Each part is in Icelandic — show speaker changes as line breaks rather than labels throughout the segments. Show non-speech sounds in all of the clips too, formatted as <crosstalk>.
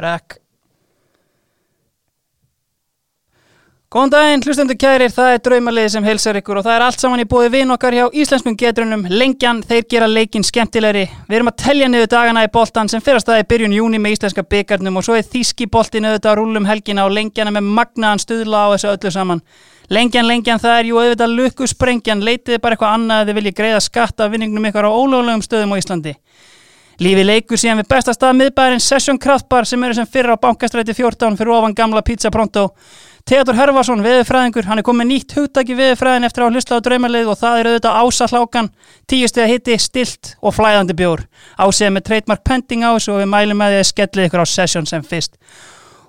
Rekk Góðan daginn, hlustendur kærir, það er draumalið sem heilsar ykkur og það er allt saman í bóði vin okkar hjá íslenskum getrunum, lengjan, þeir gera leikin skemmtilegri. Við erum að telja niður dagana í boltan sem fyrir að staði í byrjun júni með íslenska byggarnum og svo er þíski boltin auðvitað að rúlum helgina og lengjana með magnaðan stuðla á þessu öllu saman. Lengjan, lengjan, það er jú auðvitað lukkusprengjan, leitiði bara eitthvað annað að þið viljið greiða skatt af vinningnum ykkar á ólögulegum stöðum á Íslandi. Lífið leikur síðan við besta stað miðbæðin Session Kraftbar sem eru sem fyrra á bankastræti 14 fyrir ofan gamla pizza pronto. Theodor Hervarsson, veðurfræðingur, hann er komið nýtt hugtaki veðurfræðin eftir að hlusta á draumalið og það er auðvitað ása hlákan, tíustega hitti, stilt og flæðandi bjór. Ásegð með trademark pending á þessu og við mælum með því að skellið ykkur á Session sem fyrst.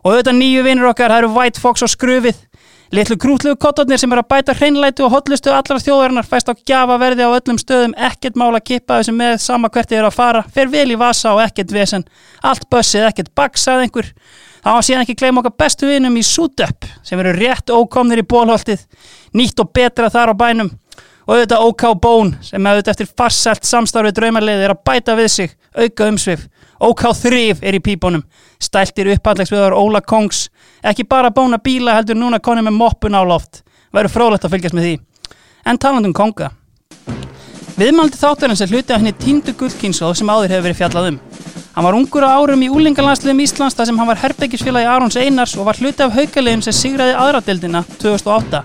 Og auðvitað nýju vinnur okkar, það eru White Fox og Skrufið. Litlu krútlegu kottarnir sem eru að bæta hreinlætu og hotlustu allar þjóðarinnar fæst á gjafa verði á öllum stöðum, ekkert mála að kippa þessu með sama hvert þið eru að fara, fer vel í vasa og ekkert vesen, allt bussið, ekkert baksað einhver. Það var síðan ekki gleyma okkar bestu vinum í Sudup sem eru rétt ókomnir í bólholtið, nýtt og betra þar á bænum og auðvitað OK Bone sem auðvitað eftir farsælt samstarfið draumarlið er að bæta við sig, auka umsvif OK Þrif er í pípunum stæltir upphandlegsviðar Óla Kongs ekki bara bóna bíla heldur núna konum með moppun á loft, væru frólægt að fylgjast með því en talandum konga Viðmaldi þáttarins er hluti af henni tindu gullkynsóð sem áður hefur verið fjallað um. Hann var ungur á árum í úlingalandsliðum Íslands þar sem hann var herbyggisfélagi Arons Einars og var hluti af haukaliðum sem sigraði aðradeldina 2008.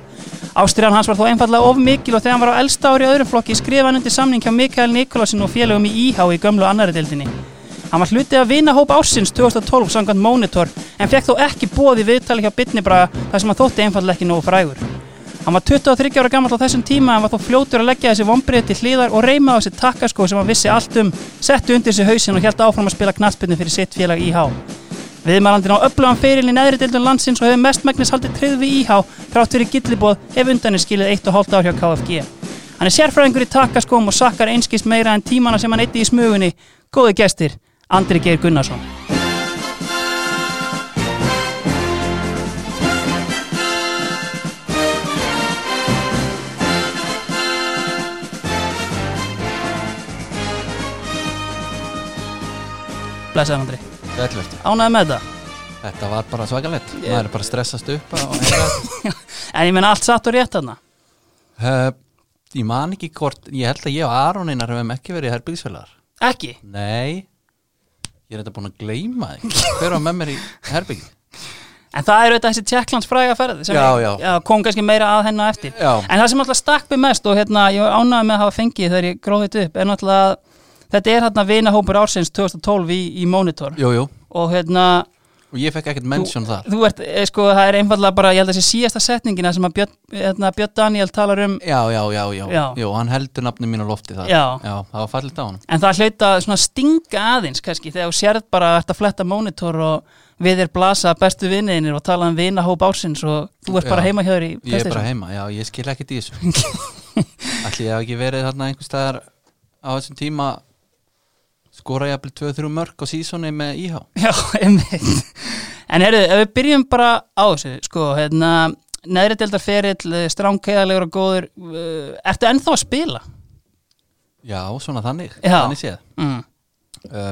Ástriðan hans var þó einfallega of mikil og þegar hann var á elsta ári í öðrum flokki skrifa hann undir samning hjá Mikael Nikolásin og félögum í Íhá í gömlu annari deildinni. Hann var hluti af vinahóp ársins 2012 samkvæmt Monitor en fekk þó ekki bóð í viðtali hjá Bitnibraga þar sem hann þótti einfallega ekki nógu frægur. Hann var 23 ára gammal á þessum tíma en var þó fljótur að leggja þessi vombriði til hliðar og reyma á þessi takkaskó sem hann vissi allt um, setti undir sig hausinn og held áfram að spila knastbyrnu fyrir sitt félag IH. Viðmælandin á öflugan feril í neðri deildun landsins og hefur mestmægnis haldið tryggð við IH þrátt fyrir gillibóð hef undanir skilið 1,5 ár hjá KFG. Hann er sérfræðingur í takkaskóm og sakkar einskist meira en tímana sem hann eitti í smugunni. Góðu gestir, Andri Geir Gunnarsson. Blessaðan Andri.
Gætlegt,
Ánæði með þetta.
þetta var bara svakalett maður er bara að stressast upp á- og heyra þetta.
<laughs> En ég menna allt satt og rétt þarna.
uh, ég man ekki hvort ég held að ég og Aron einar hefum ekki verið herbyggisfélagar
Ekki?
nei ég er þetta búin að gleyma þig hver var með mér í herbyggi
En það er auðvitað þessi Tjekklands fræga ferði sem
Já,
ég-
já.
kom kannski meira að henni á eftir
Já.
En það sem alltaf stakk mig mest og hérna, ég ánaði með að hafa fengið þegar ég gróðið upp er náttúrulega að þetta er hérna vinahópur ársins 2012 í, í Monitor
jú, jú.
og hérna
og ég fekk ekkert mention
þú,
þar
þú ert, eh, sko, það er einfallega bara ég held að þessi síðasta setningina sem að Björn, hérna, Björn Daniel talar um
já, já, já, já,
Já.
Jú, hann heldur nafni mín á lofti þar
Já.
það var fallit á hann
En það hlaut að svona stinga aðeins kannski þegar þú sérð bara að þetta fletta monitor og við er blasa bestu vinniðinir og tala um vinahóp ársins og þú ert bara
Já.
heima hjá þér í
ég er bara
PlayStation.
heima, já, ég skil ekkert í þessu
<laughs>
ætli ég hef ekki verið þarna einhvers staðar á þessum tíma skora ég að bli 2-3 mörg á sísoni með íhá
Já, einmitt. En heyrðu, ef við byrjum bara á þessu, sko, hérna, neðri deildar ferill, stránkeiðalegur og góður, uh, ertu ennþá að spila?
Já, svona þannig,
Já.
þannig séð
Mm.
uh,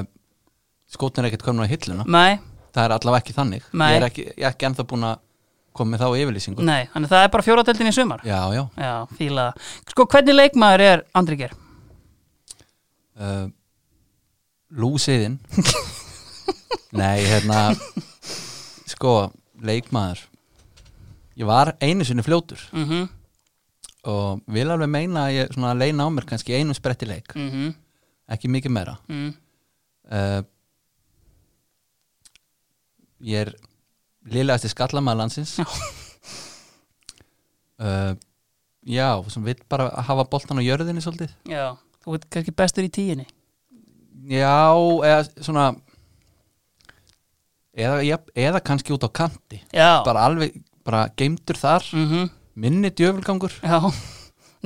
Skótin er ekkert komin á hilluna
Nei,
Það er allavega ekki þannig
Nei.
Ég er ekki, ég er ekki ennþá búin að koma með þá yfirlýsingu
nei, þannig að það er bara fjóradeldin í sumar.
Já, já
Já, fíla það. Sko, hvernig leikmaður er Andri Geir?
uh,
<laughs>
Lúsiðin Nei, hérna Sko, leikmaður Ég var einu sinni fljótur
Mm -hmm.
og vil alveg meina að ég svona leina á mér kannski einu spretti leik
Mm
ekki mikið meira
mm.
uh, ég er liðlegasti skallamaður landsins
Já.
<laughs> uh, já sem vill bara hafa boltan á jörðinni svolítið
Já, þú ert kannski bestur í tíinni.
já, eða svona eða, jafn- eða kannski út á kanti
Já,
bara alveg, bara geimdur þar
mm
minni djöfulgangur
já,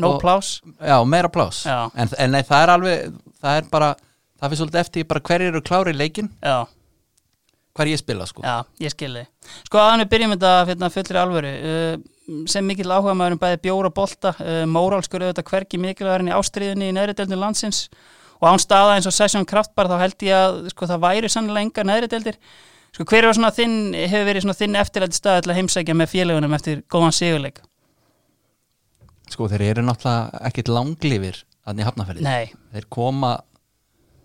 no
Og-
plás.
já, meira plás
Já.
en, en nei, það er alveg, það er bara það fyrir svolítið eftir bara hverjir eru klári í leikin
Já,
hvar ég spila sko
já, ég skilði. Sko, aðan við byrjum þetta hérna, fullri alvöru. Uh, sem mikill áhuga maður um bæði bjóra bolta, uh, mórálskur auðvitað hvergi mikilvægur en í ástriðinni í neðri deildin landsins og án staða eins og Session Kraftbar þá held ég að sko, það væri sannlega engar neðri deildir. Sko, hver var svona þinn, hefur verið svona þinn eftirlæti stað til að heimsækja með félagunum eftir góðan sigurleik?
sko þeir eru náttúrulega ekkit langlifir þannig hafnaferðið,
Nei,
þeir koma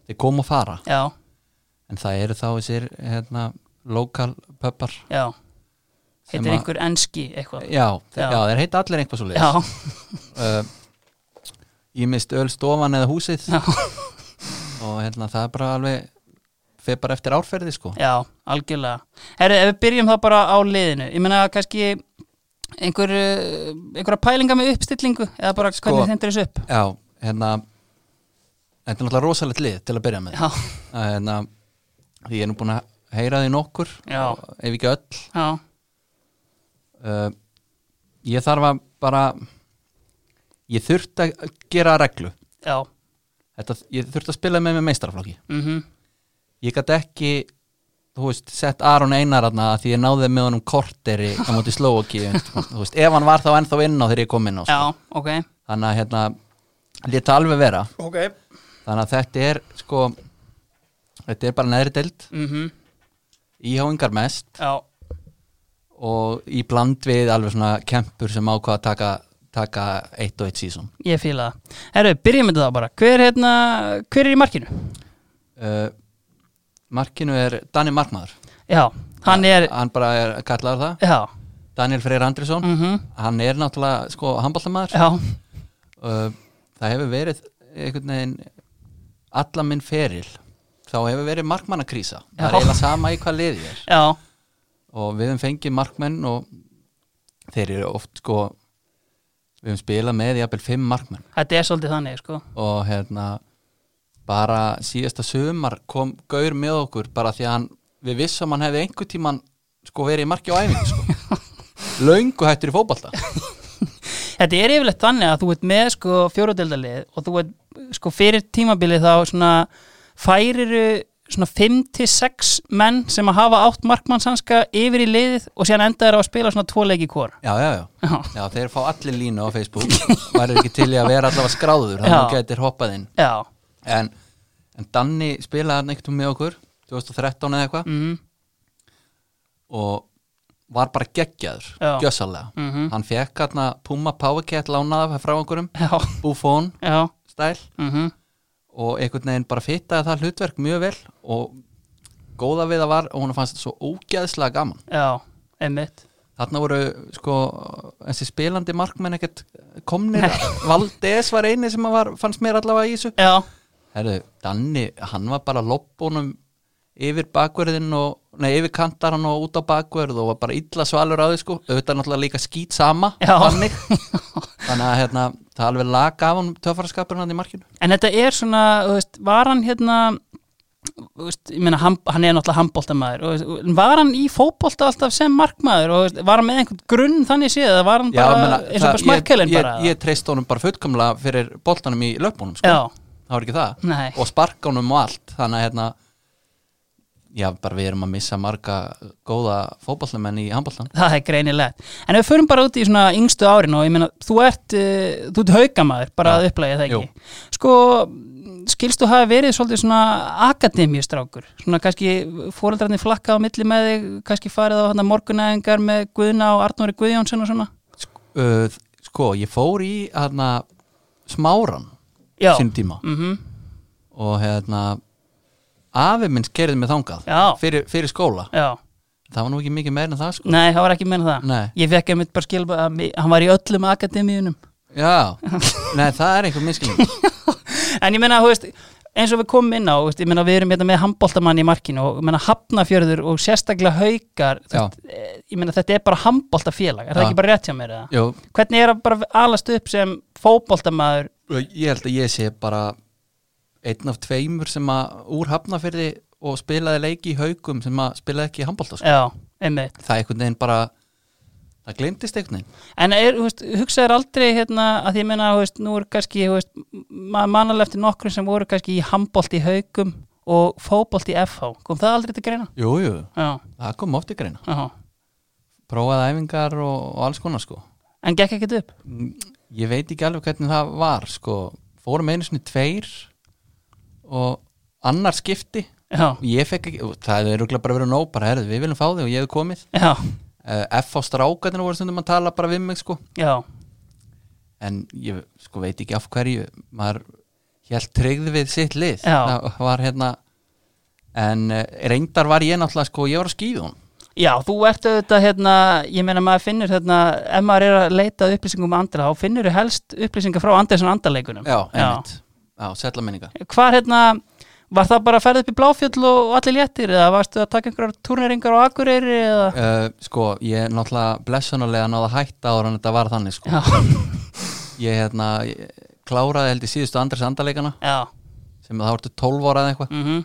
þeir koma og fara
já,
en það eru þá þessir hérna, lokal pöppar
já.
Sem
Heitir
að-
einhver enski eitthvað?
já, þeir,
Já.
já. þeir heita allir einhvað svo
Já,
leið ég mist öl stofan eða húsið
já,
og hérna, það er bara alveg fer bara eftir árferði sko
já, algjörlega. Herru, ef við byrjum þá bara á liðinu, ég meina kannski einhver, eh, einhverja pælinga með uppstillingu eða bara
Sko-
hvernig þendur þessu upp?
já, hérna þetta er náttúrulega rosalegt lið til að byrja með
Já,
að, hérna, því ég er nú búin að heyra því nokkur
Já.
ef ekki öll
já,
uh, ég þarf að bara ég þurft að gera reglu
já,
Þetta, ég þurft að spila með með meistaraflokki
mhm,
ég gæti ekki þú veist, sett Aron Einar aðna því ég náði með honum korteri á móti slóki þú veist, ef hann var þá ennþá inn á þegar ég kom inn á sko.
já, ok.
þannig að hérna, leta alveg vera
Ok.
þannig að þetta er sko þetta er bara neðri deild
Mhm,
íháingar mest
já,
og í bland við alveg svona kempur sem ákvað að taka, taka eitt og eitt sísón
ég fíla það. Herru, byrjum við það bara. Hver, hérna, hver er í markinu?
uh, markinu er Danni Markmaður
Já, hann er,
hann bara er kallaður það
já,
Daniel Freyr Andrisson
mhm,
hann er náttúrulega sko handbóltamaður
já,
uh, það hefur verið einhvern veginn alla minn feril þá hefur verið markmannakrísa það
Já.
er eiginlega sama í hvað liðið er
já,
og við höfum fengið markmenn og þeir eru oft sko við höfum spilað með jafnvel fimm markmenn
þetta er svolítið þannig, sko.
og hérna bara síðasta sömar kom Gaur með okkur bara því að hann, við vissum hann hefði einhver tíman sko verið í marki á æfingu sko.
<laughs>
löngu hættur í fótbalta
Þetta er yfirleitt þannig að þú ert með, sko, fjóruðildalið og þú ert, sko, fyrir tímabilið þá svona færiru svona 5-6 menn sem að hafa átt markmannsanska yfir í liðið og síðan enda þeir á að spila svona tvo leiki hvor.
já, já, já,
Já,
já, þeir fá allir línu á Facebook væri ekki til í að vera allavega skráður þannig að
Já.
gætir hoppað inn
já,
en, en Danni spilaði hann einhvern með okkur 2013 eða eitthvað
mhm,
og var bara geggjaður,
Já.
gjössalega
Mhm.
hann fekk hérna Puma Powercat lánað frá einhverjum,
já,
Buffon
já,
stæl
mhm,
og einhvern veginn bara fittaði það hlutverk mjög vel og góða við það var og hún fannst þetta svo ógæðslega gaman
já, einmitt.
þarna voru sko þessi spilandi markmenn ekkert komnir <laughs> Valdes var eini sem var, fannst mér allavega í þessu
Já,
Herðu, Danni, hann var bara lobbunum yfir bakverðin og, nei, yfir kantaran og út á bakverð og var bara illa svalur á því sko auðvitað náttúrulega líka skýt sama
Já.
þannig
<laughs>
þannig að hérna, það alveg laga af hann töfaraskapurinn hann í markinu
En þetta er svona, þú veist, var hann hérna þú veist, ég meina, hann, hann er náttúrulega handbóltamaður og þú veist, en var hann í fótbólta alltaf sem markmaður og þú veist, var hann með einhvern grunn þannig séð eða var hann
Já,
bara
menna,
eins og bara smarkelin
ég,
bara
ég, ég treyst honum bara fullkomlega fyrir boltanum í löpunum sko.
Já,
það var ekki það
Nei.
og sparkanum og allt þannig að hérna, já, bara við erum að missa marga góða fótballamenn í handballamenn
það er greinilegt En ef við förum bara út í svona yngstu árin og ég meina, þú ert, uh, þú ert haukamaður bara
Já.
að upplægja það
Jú.
ekki Sko, skilst þú hafi verið svolítið svona akademíustrákur svona kannski fóreldrarnir flakka á milli með þig, kannski farið á hana, morgunæðingar með Guðna og Arnóri Guðjónsson og svona
sko, uh, sko, ég fór í hérna, smáran
Já,
sín tíma
mhm
og hérna afi minn skerði mig þangað
Já,
fyrir, fyrir skóla
já,
það var nú ekki mikið meir en það sko
nei, það var ekki meina það
Nei.
Ég fekk einmitt bara skilba að mi- hann var í öllum akademíunum
já, nei, það er einhver miskilning
<laughs> En ég meina, þú veist, eins og við komum inn á þú veist, Ég meina, við erum hérna með handbóltamann í markinu og ég meina, hafnafjörður og sérstaklega haukar þú
Já.
veist, eh, Ég meina, þetta er bara handbóltafélag Er það
Já.
ekki bara rétt hjá mér eða?
Jú,
Hvernig er að bara alast upp sem fótbóltamaður
Ég held að ég sé bara einn af tveimur sem að úr hafnafyrði og spilaði leiki í haugum sem að spilaði ekki í handbólta sko.
Já, einmitt
Það er einhvern veginn bara það glemtist einhvern veginn
En er, þú veist, hugsaður aldrei hérna, að því ég meina, þú veist, nú eru kannski þú veist, mannalega eftir nokkrum sem voru kannski í handbólt í haugum og fótbólt í FH, kom það aldrei til greina?
Jú, jú,
Já,
það kom oft í greina
já,
Prófaði æfingar og, og alls konar sko
en gekk ekkert upp?
Mm, Ég veit ekki alveg hvernig það var sko Fórum einu sinni tveir og annar skipti
já,
Og Ég fekk ekki, og það er rúglega bara verið nóg bara, herðu, við viljum fá þig og ég hef komið
já,
uh, F á strákarnir voru stundum að tala bara við mig sko
já
en ég sko veit ekki af hverju maður helt tryggði við sitt lið
Já.
það var hérna en eh, reyndar var ég náttúrulega sko ég var að skýða hún
Já, þú ert auðvitað hérna, ég meina maður finnur hérna, ef maður er að leita að upplýsingum um andra, þá finnur þú helst upplýsingar frá Andersson andarleikunum.
já, einmitt, já, sella minninga
Hvar hérna, var það bara að ferða upp í Bláfjöll og, og allir léttir eða varstu að taka einhverjar turneringar á Akureyri eða?
uh, sko ég náttúrulega blessunulega náða hætta ára en þetta var þannig sko
Já,
<laughs> ég hérna ég, kláraði held í síðustu Andres andarleikana
já,
sem þá ertu 12 ára eða eitthvað
mhm,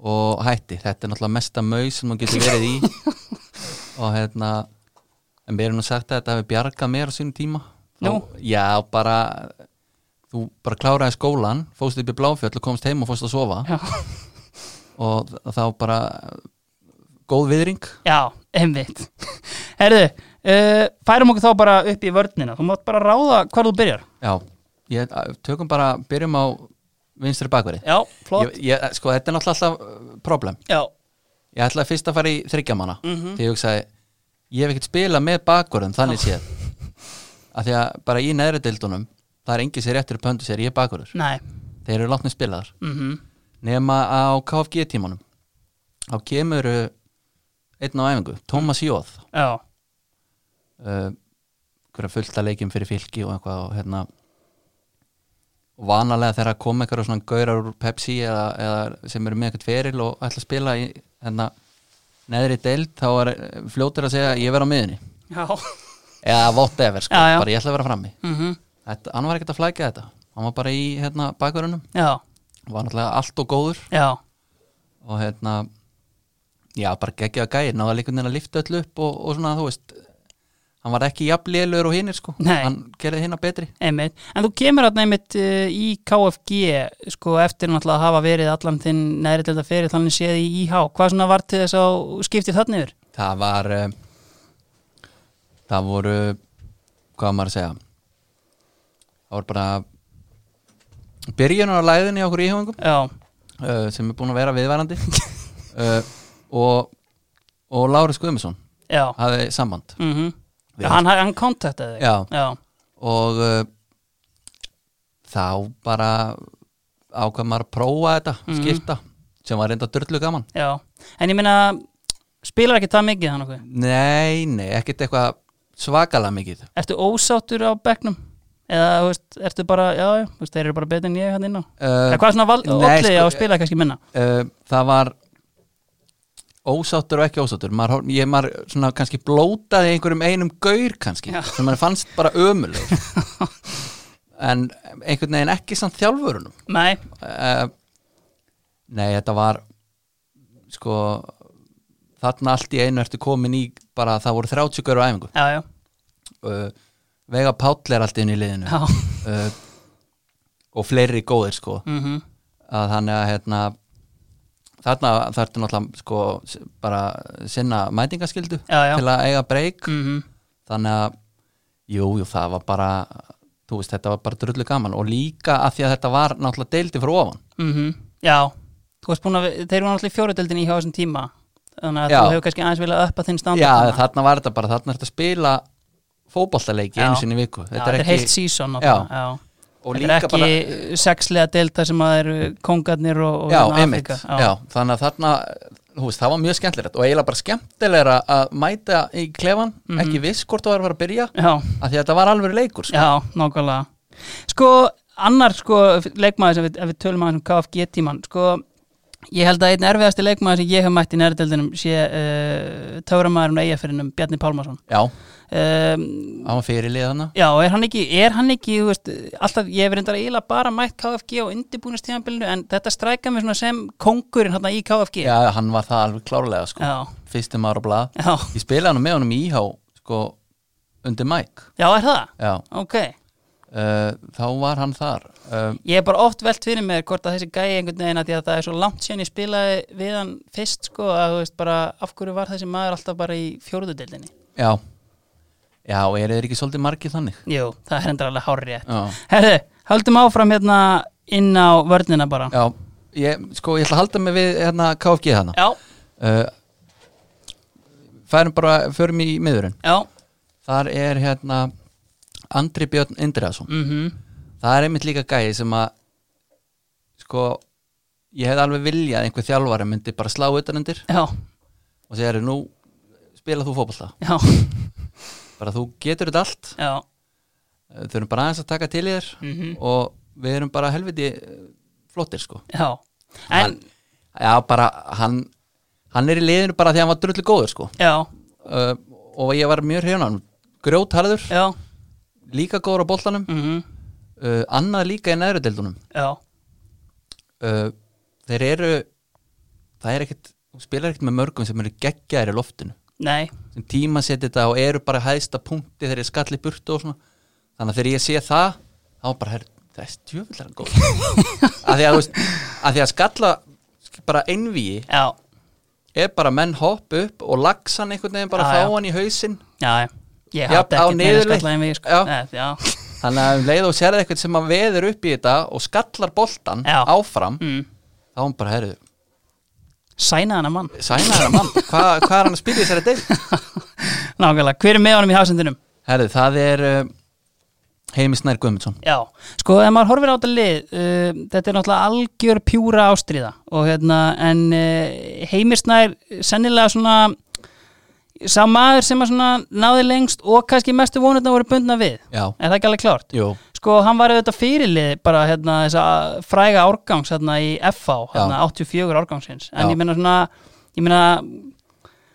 og hætti, þetta er náttúrulega mesta maus sem maður getur verið í og hérna en mér er nú sagt að þetta hefur bjargað mér á sínum tíma
Nú?
Þá- já, bara þú bara kláraði skólan fóstu upp í Bláfjöll og komst heim og fóstu að sofa
já,
og þ- þá bara góð viðring
já, einmitt. Herðu, uh, færum okkur þá bara upp í vörnina, þú mátt bara ráða hvar þú byrjar.
já, ég, tökum bara byrjum á vinstri bakverið
Já, flott,
ég, ég, sko, þetta er náttúrulega alltaf uh, problem
já,
ég ætlaði fyrst að fara í þryggjamanna mm því ég hugsaði, ég hef ekkert spilað með bakvörðum þannig séð af því að bara í neðri deildunum það er engi sér réttur upp höndu sér, ég er bakvörður
næ,
þeir eru látnið spilaðar
mhm,
nema á KFG tímanum þá kemur uh, einn á æfingu, Tómas Jóð
já,
uh, hverja fullta leikjum fyrir fylki og eitthvað og hérna og vanalega þegar að koma eitthvað svona gaurar úr Pepsi eða, eða sem eru með eitthvað tveril og ætla að spila í hérna neðri deild þá er eh, fljótir að segja ég verð á miðunni
já,
eða whatever sko,
Já, já.
bara ég ætla að vera frammi
mhm,
þetta, hann var ekkert að flækja þetta hann var bara í hérna bakverunum
já,
var náttúrulega allt og góður
já,
og hérna já, bara geggjaða gæir, náða líkunin að lifta öll upp og, og svona, þú veist hann var ekki jafnlélur og hinnir sko
Nei.
hann gerði hinna betri
einmitt. En þú kemur hérna einmitt uh, í KFG, sko, eftir náttúrulega að hafa verið allan þinn neðri til þetta fyrir þannig séð í IH. Hvað svona var til þess að skipti þarna yfir?
það var eh, það voru hvað á maður að segja það voru bara byrjunar á læðinni okkur íhjóðingum
Já,
uh, sem er búin að vera viðvarandi uh, og og Lárus Guðmundsson
já,
hafði samband
mhm.
Við-
Já, hann, hann kontaktaði þig?
Já.
Já,
og uh, þá bara ákvað maður að prófa þetta
Mhm.
skipta, sem var reynda dörlu gaman
já. En ég meina, spilar ekki það mikið hann okkur?
nei, nei, ekkert eitthvað svakalega mikið
Ertu ósáttur á bekknum? Eða, þú veist, ertu bara, já, já, þú veist, þeir eru bara betur en ég hann inn á?
uh,
Eða hvað svona val-
nei,
olli
sko,
á að spila kannski minna?
uh, það var ósáttur og ekki ósáttur maður, hor- ég maður svona kannski blótaði einhverjum einum gaur kannski
Já.
sem maður fannst bara ömuleg
<laughs>
en einhvern veginn ekki samt þjálfurunum
Nei,
uh, Nei, þetta var sko þarna allt í einu ertu komin í bara það voru 30 gaur á æfingu
já, já,
uh, Vega Páll er allt inn í liðinu
já,
uh, og fleiri góðir sko
mhm,
að þannig að hérna þarna þarftu náttúrulega sko s- bara sinna mætingaskildu
Já, já.
til að eiga breyk
mhm,
þannig að jú, jú, það var bara þú veist, þetta var bara drullu gaman og líka að því að þetta var náttúrulega deildi frá ofan
mhm, já. Þú veist búin að, við- þeir eru náttúrulega í fjóruðöldinni í hjá þessum tíma, þannig að
Já.
þú hefur kannski aðeins viljað uppa þinn standard.
Já,
þarna.
þarna var þetta bara, þarna er þetta að spila fótballtaleiki
Já.
einu sinni í viku
Já, þetta er heilt sísón og það, já.
og
Þetta er
líka
ekki bara... sexlega delta sem að eru kongarnir og, og
Já,
hérna
einmitt,
Afríka.
já. þannig að þarna þú veist, það var mjög skemmtilegt og eiginlega bara skemmtilegra að mæta í klefan ekki viss hvort þú var að fara að byrja
Já,
af því að þetta var alveg leikur sko.
Mhm. já, nákvæmlega Sko, annar sko leikmaður sem við, ef við tölum aðeins um KFG tíman sko, ég held að einn erfiðasti leikmaður sem ég hef mætt í nærdeldinum sé uh, töframæðurinn og eigafyrinum Bjarni Pálmarsson
Já,
um,
það var fyrirlið þarna
Já, er hann ekki, er hann ekki þú veist, alltaf, ég hef reyndar eiginlega bara mætt KFG á undirbúinastíðanbylnu en þetta strækar mig svona sem kongurinn hérna í KFG
Já, hann var það alveg klárlega sko.
já,
fyrstum ára og blað
já,
Ég spilaði hann með honum í íhá sko, undir mæk
já, er það?
Já,
Ok
uh, þá var hann þar uh,
Ég hef bara oft velt fyrir mér hvort að þessi gæi einhvern veginn að því að það er svo langt síðan ég spilaði við hann fyrst sko að þú veist bara af hverju var þessi maður alltaf bara í fjóruðudeldinni?
Já, já, eru þeir ekki svolítið margið þannig?
Jú, það er hendur alveg hárið rétt.
Já,
Herðu, höldum áfram hérna inn á vörnina bara.
já ég, sko, ég ætla að halda mig við hérna KFG hana
Já,
uh, færum bara, förum í miðurinn
já,
þar er hérna Andri Björn Indriðason
mhm
það er einmitt líka gæði sem að sko ég hefði alveg viljað að einhver þjálfari myndi bara slá utanendir
Já,
og segja "Herri, nú spila þú fótballta
já,
bara þú getur þetta allt
já
Eh, þau erum bara aðeins að taka til í þér
Mhm.
og við erum bara helviti eh, flottir sko
Já, en,
hann, já bara hann hann er í liðinu bara því að hann var drullu góður sko
já,
uh, og ég var mjög hrjónan grjótharður,
já,
líka góður á boltanum
mhm,
uh, annað líka í neðru deildunum
já,
uh, þeir eru það er ekkert, þú spilar ekkert með mörgum sem eru geggjaðir í loftinu
nei,
sem tíma setja þetta og eru bara hæðsta punkti þegar ég skalli í burtu og svona þannig að þegar ég sé það þá bara her, það er stjöfullar góð að því að, þú veist, að því að skalla sk- bara einvíi
já,
er bara menn hopp upp og lagsan einhvern veginn bara
Já,
fá
já.
hann í hausinn
já, já. ég
Já,
hafði
á
ekkert meira
niðurleið.
skallaði en við, sko,
Já.
Nei, já,
þannig að um leið og sérði eitthvað sem að veður upp í þetta og skallar boltan
Já.
áfram
mm.
þá hún bara herðu,
sæna hana mann,
sæna hennar mann hvað hva er hann að spila í þessari deil
<laughs> nákvæmlega, hver er með honum í hafsendinum?
herðu, það er uh, Heimi Snær Guðmundsson
Já, sko, ef maður horfir á þetta lið, uh, þetta er náttúrulega algjör pjúra ástríða og hérna, en uh, heimirstnær sennilega svona sá maður sem að svona náði lengst og kannski mestu vonutna voru bundna við,
já,
er það ekki alveg klárt?
jú,
Sko, hann var auðvitað fyrirlið bara hérna þessa fræga árgangs hérna í FH, hérna 84 árgangsins en
Já.
ég meina svona, ég meina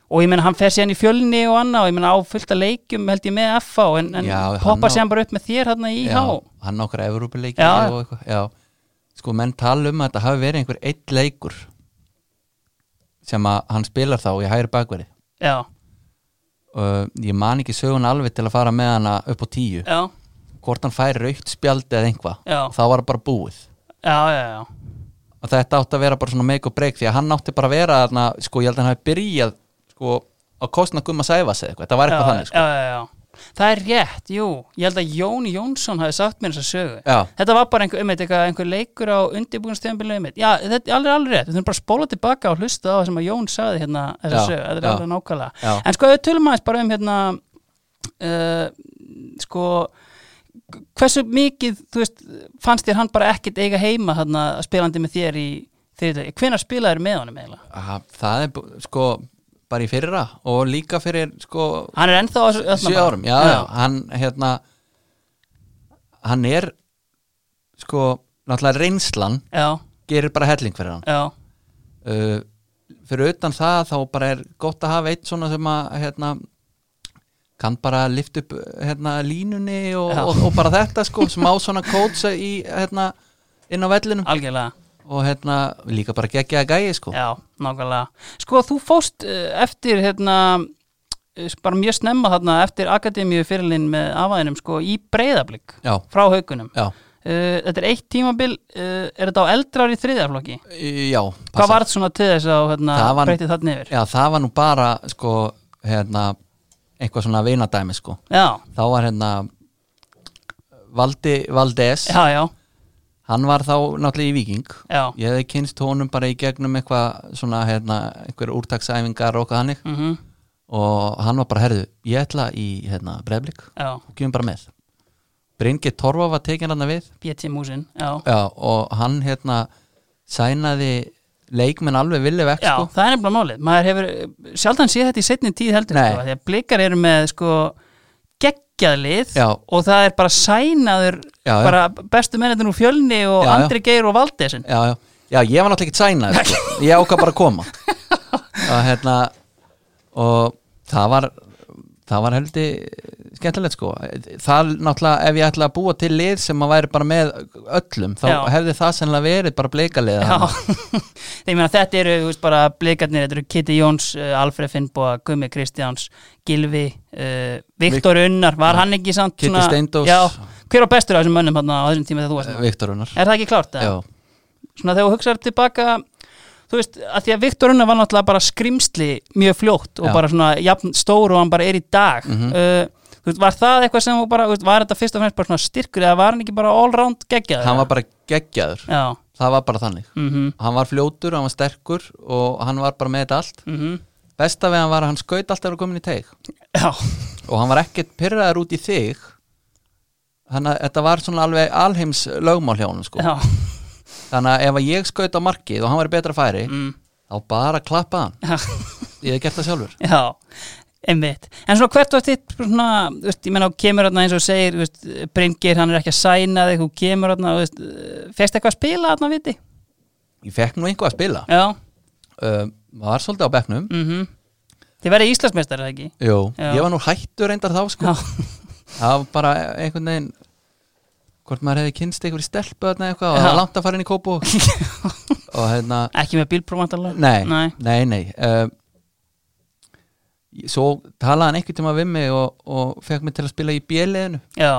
og ég meina hann fer síðan í fjölni og annað og ég meina á fullt að leikjum held ég með FH en, en
Já, hann
poppar
á-
síðan bara upp með þér hérna í IH
já hann okkar Evrópuleiki
Já.
og eitthvað, já sko, menn tala um að þetta hafi verið einhver eitt leikur sem að hann spilar þá í hægri bakverði
Já,
uh, ég man ekki sögun alveg til að fara með hana upp á tíu
já,
hvort hann færi raukt spjaldi eða einhvað
Já.
þá var það bara búið
já, já, já.
og þetta átti að vera bara svona make or break því að hann átti bara að vera þarna, sko ég held að hann hafi byrjað sko á kostna gumma sæfa sig eitthvað, þetta var eitthvað
já,
þannig sko.
já, já, já. Það er rétt, jú Ég held að Jón Jónsson hafi sagt mér þessa sögu
já,
Þetta var bara einhver, um eitthvað, einhver leikur á undirbúinstjöfumbilið um Já, þetta er alveg alveg rétt, við þurfum bara að spóla tilbaka og hlusta á það sem að Jón saði hérna þessa
Já,
sögu, þetta er
já.
alveg nákvæmlega
já,
En sko, ef við tölum aðeins bara um hérna uh, sko hversu mikið, þú veist, fannst þér hann bara ekkit eiga heima hérna spilandi með þér í þriðlega, hvenær spilaðir með honum eiginlega?
Aha, það er bú- sko bara í fyrra og líka fyrir sko
Hann er ennþá á þessu- þarna
sjö
bara.
árum, já, já, hann hérna hann er sko náttúrulega reynslan
já,
gerir bara helling fyrir hann
já,
uh, fyrir utan það þá bara er gott að hafa eitt svona sem að hérna, kann bara lift upp hérna, línunni og,
Já.
og, og bara þetta sko, smá svona kótsa í hérna, inn á vellinum
algjörlega
og hérna, líka bara geggja að gæja sko.
Já, nákvæmlega. Sko, þú fóst uh, eftir, hérna, uh, bara mjög snemma þarna, eftir Akademíu fyrirlinn með afaðinum, sko, í breyðablík
já,
frá haukunum.
já,
Uh, þetta er eitt tímabil, uh, er þetta á eldrar í þriðaflokki?
Í- já
Hvað
passa.
var þetta svona til þess að hérna,
Það var-
breytið þarna yfir?
já, það var nú bara sko, hérna, eitthvað svona vinadæmi sko.
Já,
þá var hérna Valdi, Valdes
já, já,
hann var þá náttúrulega í Víking
já,
Ég hefði kynst honum bara í gegnum eitthvað svona, hérna, einhver úrtaksæfingar og eitthvað hannig
mhm,
og hann var bara, herðu, ég ætla í hérna, breflik
já,
og gefum bara með Bryngi Torfa var tekin hann við
BT Músin, já.
Já, og hann hérna sænaði leikmenn alveg villi vekk
Já,
sko.
það er nefnilega málið. Maður hefur uh, sjaldan séð þetta í setni tíð heldur,
Nei.
sko, af því að blikar eru með, sko, geggjaðlið
Já.
og það er bara sænaður
Já, já.
bara bestu mennetinn úr fjölni og
Já, já.
Andri Geir og Valdesin.
já, já, já, ég var náttúrulega ekki sænaði
<laughs>
sko. ég ákvað bara að koma og hérna og það var það var heldur skemmtilegt sko það náttúrulega ef ég ætla að búa til lið sem að væri bara með öllum þá
Já.
hefði það sennilega verið bara bleikaliða
Já, <laughs> þegar meina þetta eru, þú veist, bara blikarnir, þetta eru Kitty Jóns, uh, Alfred Finnboa, Gummi Kristjáns, Gilvi, uh, Viktor Unnar, var hann ekki samt
Kiddi Steindós.
Já, hver var bestur á þessum mönnum hann á þessum tíma þegar þú varst? þarna?
Viktorunar
Er það ekki klárt? eða?
já,
svona þegar þú hugsaður tilbaka þú veist, að því að Viktor Unna var náttúrulega bara skrimsli mjög fljótt og
Já.
bara svona jafn stór og hann bara er í dag uh, þú veist, var það eitthvað sem þú bara, þú veist, var þetta fyrst og fremst bara svona styrkur eða var hann ekki bara allround geggjað
hann var bara geggjaður
já,
það var bara þannig
mhm,
hann var fljótur, hann var sterkur og hann var bara með þetta allt
mhm
besta við hann var að hann skaut alltaf að komin í teig
Já,
og hann var ekkert pyrraðar út í þig þannig að þetta var svona alveg alheims lögmál hjá hann sko.
já
þannig að ef að ég skaut á markið og hann var í betra færi
mm,
þá bara klappa hann,
Já, <laughs>
ég hef gert það sjálfur
já einmitt, en svona hvert var þitt svona, þú veist, ég menna, þú kemur þarna eins og þú segir, þú veist, Bryngir, hann er ekki að sæna þig, þú kemur þarna, þú veist fegst eitthvað að spila þarna, viti?
ég fekk nú einhvað að spila
Já,
uh, var svolítið á bekknum
mhm Þið verið Íslandsmeistar, er það ekki?
Jú,
Já.
ég var nú hættur reyndar þá sko.
Já,
það var bara einhvern veginn hvort maður hefði kynst einhverju stelpu þarna
Já.
eitthvað, og það var langt að fara inn í kópu og hérna
<laughs> ekki með bílprófantalega
nei,
Nei.
nei, nei, Uh, svo talaði hann einhvern tíma við mig og, og fekk mig til að spila í bjöliðinu
Já,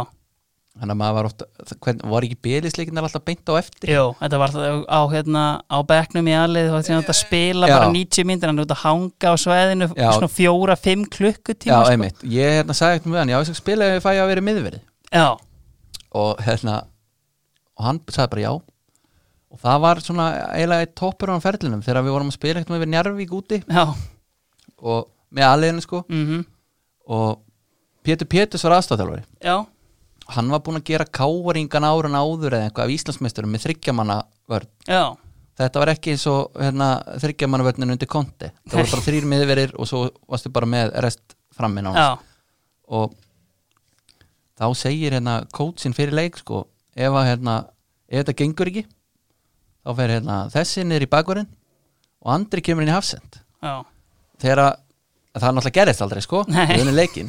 þannig að maður var ofta, hvern, var ekki bjöliðsleikinnar alltaf beint á eftir
jú, þetta var það á, hérna, á bekknum í aðlið og þetta að spila
Já.
bara 90 myndir hann er út að hanga á sveðinu
Já.
svona fjóra, fimm klukkutíma
já,
sko.
einmitt, ég hérna sagði eitthvað með hann já, ég skal spila ef ég fæ að vera miðverið
Já,
og hérna og hann sagði bara já og það var svona eiginlega eitt toppur á ferlinum þegar við vorum að spila eitthvað með Njarvík úti
já,
og með aðleginu sko
mhm
og Pétur Péturs var aðstofþjálfari
Já,
hann var búinn að gera káringan árun áður eða eitthvað af Íslandsmeisturum með þryggjamanna vörn
já,
þetta var ekki eins og hérna, þryggjamanna vörnin undir konti það voru bara þrýr miðverir og svo varstu bara með rest frammin á hans
já,
og þá segir hérna kótsinn fyrir leik sko ef, að, hérna, ef þetta gengur ekki þá fer hérna þessi niður í bakvarinn og andri kemur inn í hafsend
já,
þegar að að það náttúrulega gerist aldrei sko
Nei.
við unum leikin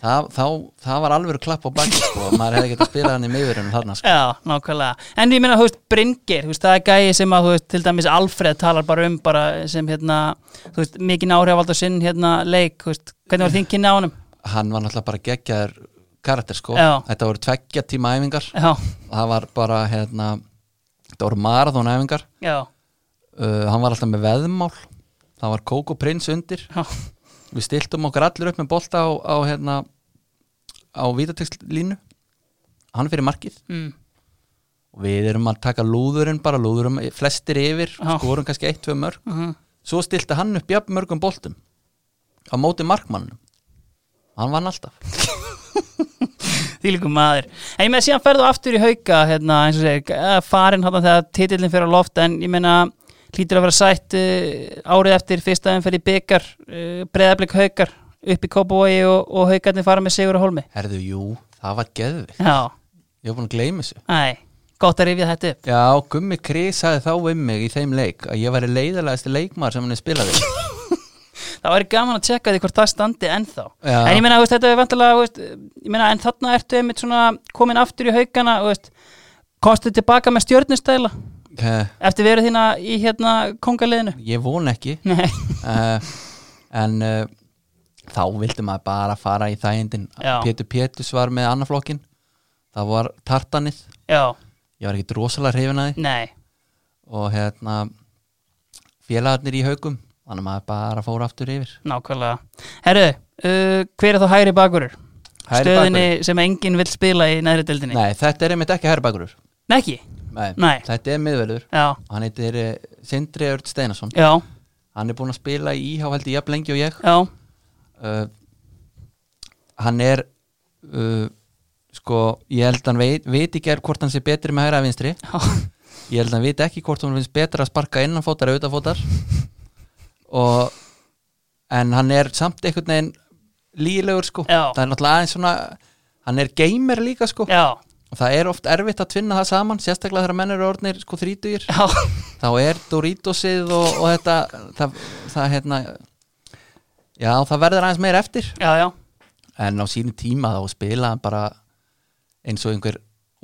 það, þá, það var alveg klapp á baki sko maður hefði getað spilað hann í miðurinn þarna sko
já, nákvæmlega En ég meina, þú veist, Bryngir, þú veist, það er gæi sem að, þú veist, til dæmis Alfred talar bara um bara sem, hérna, þú veist, mikinn áhrifald á sinn, hérna, leik, þú veist, hvernig var þín kynni á honum?
hann var náttúrulega bara geggjaður karakter sko
Já.
þetta voru tveggja tíma æfingar
Já,
það var bara hérna þetta voru marathon æfingar
já,
uh, hann var alltaf með veðmál það var Kóko Prins undir
já,
við stiltum okkur allir upp með bolta á, á hérna á vítatekslínu hann fyrir markið
mm,
og við erum að taka lúðurinn bara lúðurum flestir yfir,
Já.
skorum kannski eitt, tvö mörg
uh
svo stilti hann upp jafn mörgum boltum á móti markmannum hann vann alltaf
því líkum maður En ég meina, síðan ferðu aftur í hauka, hérna, eins og segir, farin hann þegar titillin fyrir á loft, en ég meina, hlýtur að vera sætt uh, árið eftir fyrsta en fyrir byggar, uh, breyðablik haukar, upp í Kópavogi og, og haukarnir fara með Sigur og Holmi
herðu, jú, það var geðvik
Já,
ég var búin að gleyma þessu
næ, gott að rifja þetta upp
já, Gummi Kris sagði þá um mig í þeim leik að ég væri leiðalegasti leikmaður sem hann spilaði
Það væri gaman að tjekka því hvort það standi ennþá
Já.
En ég meina, þú veist, þetta er vantilega veist, ég meina, En þarna ertu einmitt svona komin aftur í haugana þú veist, Kostu tilbaka með stjörnustæla
Eh,
Eftir veru þína í hérna kongaliðinu
ég von ekki
Nei,
uh, en uh, þá vildi maður bara fara í þægindin
Já.
Pétur Pétus var með annaflokkin það var tartanið
já,
ég var ekkit rosalega hrifin að því
nei
og hérna félagarnir í haugum þannig að maður bara fór aftur yfir
Nákvæmlega Herru, uh, hver er þá hægri bakurur?
Hægri
Stöðinni sem enginn vill spila í næri deildinni
Nei, þetta er einmitt ekki herrbakurur
Nei, ekki?
Nei,
Nei.
þetta er miðverður
Já,
hann heitir eh, Sindri Örd Steinason
já,
hann er búin að spila í íhá held ég jafn lengi og ég
já,
uh, hann er uh, sko, ég held hann veit, veit ekki er hvort hann sé betri með hægra að vinstri
já.
ég held hann veit ekki hvort hann finnst betra að sparka innanfótar eða utanfótar og en hann er samt einhvern veginn lílegur sko,
Já.
það er náttúrulega aðeins svona hann er gamer líka sko
já,
og það er oft erfitt að tvinna það saman sérstaklega þegar menn eru orðnir sko þrítugir
já,
þá er Doritosið og, og þetta það, það hérna já það verður aðeins meir eftir
já, já.
en á sínu tíma þá spila hann bara eins og einhver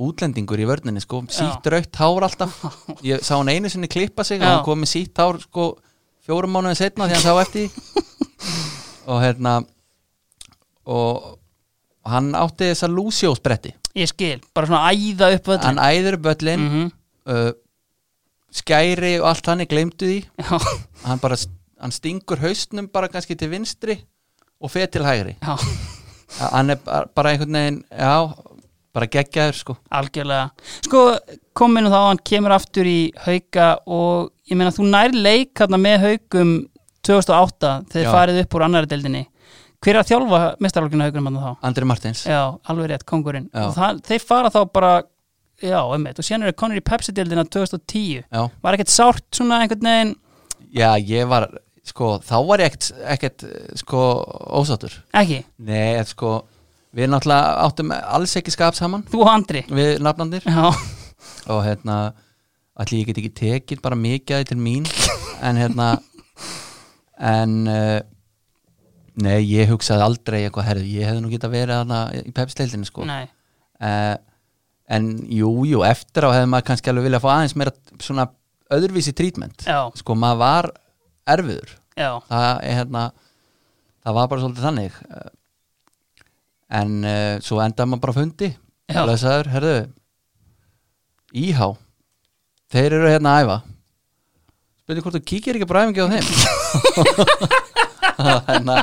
útlendingur í vörninni sko, sítt rautt
<laughs>
hár alltaf ég sá hann einu sinni klippa sig og
Já.
hann kom með sítt hár sko fjórum mánuðin setna því hann sá eftir
<laughs>
því. og hérna og hann átti þessa lúsjósbretti
Ég skil, bara svona æða upp völlin
hann æður böllin mm
Mhm.
uh, skæri og allt hann er gleymdu því
Já,
hann bara, hann stingur haustnum bara kannski til vinstri og fer til hægri
já,
hann er bara bara einhvern veginn já, bara geggjaður sko
Algjörlega. Sko, kominu þá að hann kemur aftur í hauka og ég meina þú nær leik hérna með haukum 2008 þegar
Já.
farið upp úr annari deildinni. Hver er að þjálfa mestarlokinu haukunum hann þá?
Andri Martins,
Já, alveg rétt, kongurinn.
Já.
Og Það, þeir fara þá bara, já, emmitt, og síðan eru konur í Pepsi-deildina 2010.
já,
Var ekkert sárt svona einhvern veginn,
já ég var sko, þá var ég ekkert, ekkert sko ósáttur
ekki,
Nei, en sko, við náttúrulega áttum alls ekki skap saman
þú og Andri.
við nafnandir
Já,
og hérna, allir ég get ekki tekið bara mikið af því til mín en hérna en uh, nei, ég hugsaði aldrei eitthvað herðu, ég hefði nú getað verið hana í pepsleildinni sko
<laughs> nei,
uh, en jú, jú, eftir á hefði maður kannski alveg viljað fá aðeins meira svona öðruvísi trítment
Já.
sko, maður var erfiður
já,
það er hérna það var bara svolítið þannig eh, en uh, svo endaði maður bara á fundi
Já.
lesaður, herðu íhá þeir eru hérna að æfa spyrir hvort þú kíkir ekki bara á æfingi á
<laughs>
þeim <laughs> hérna,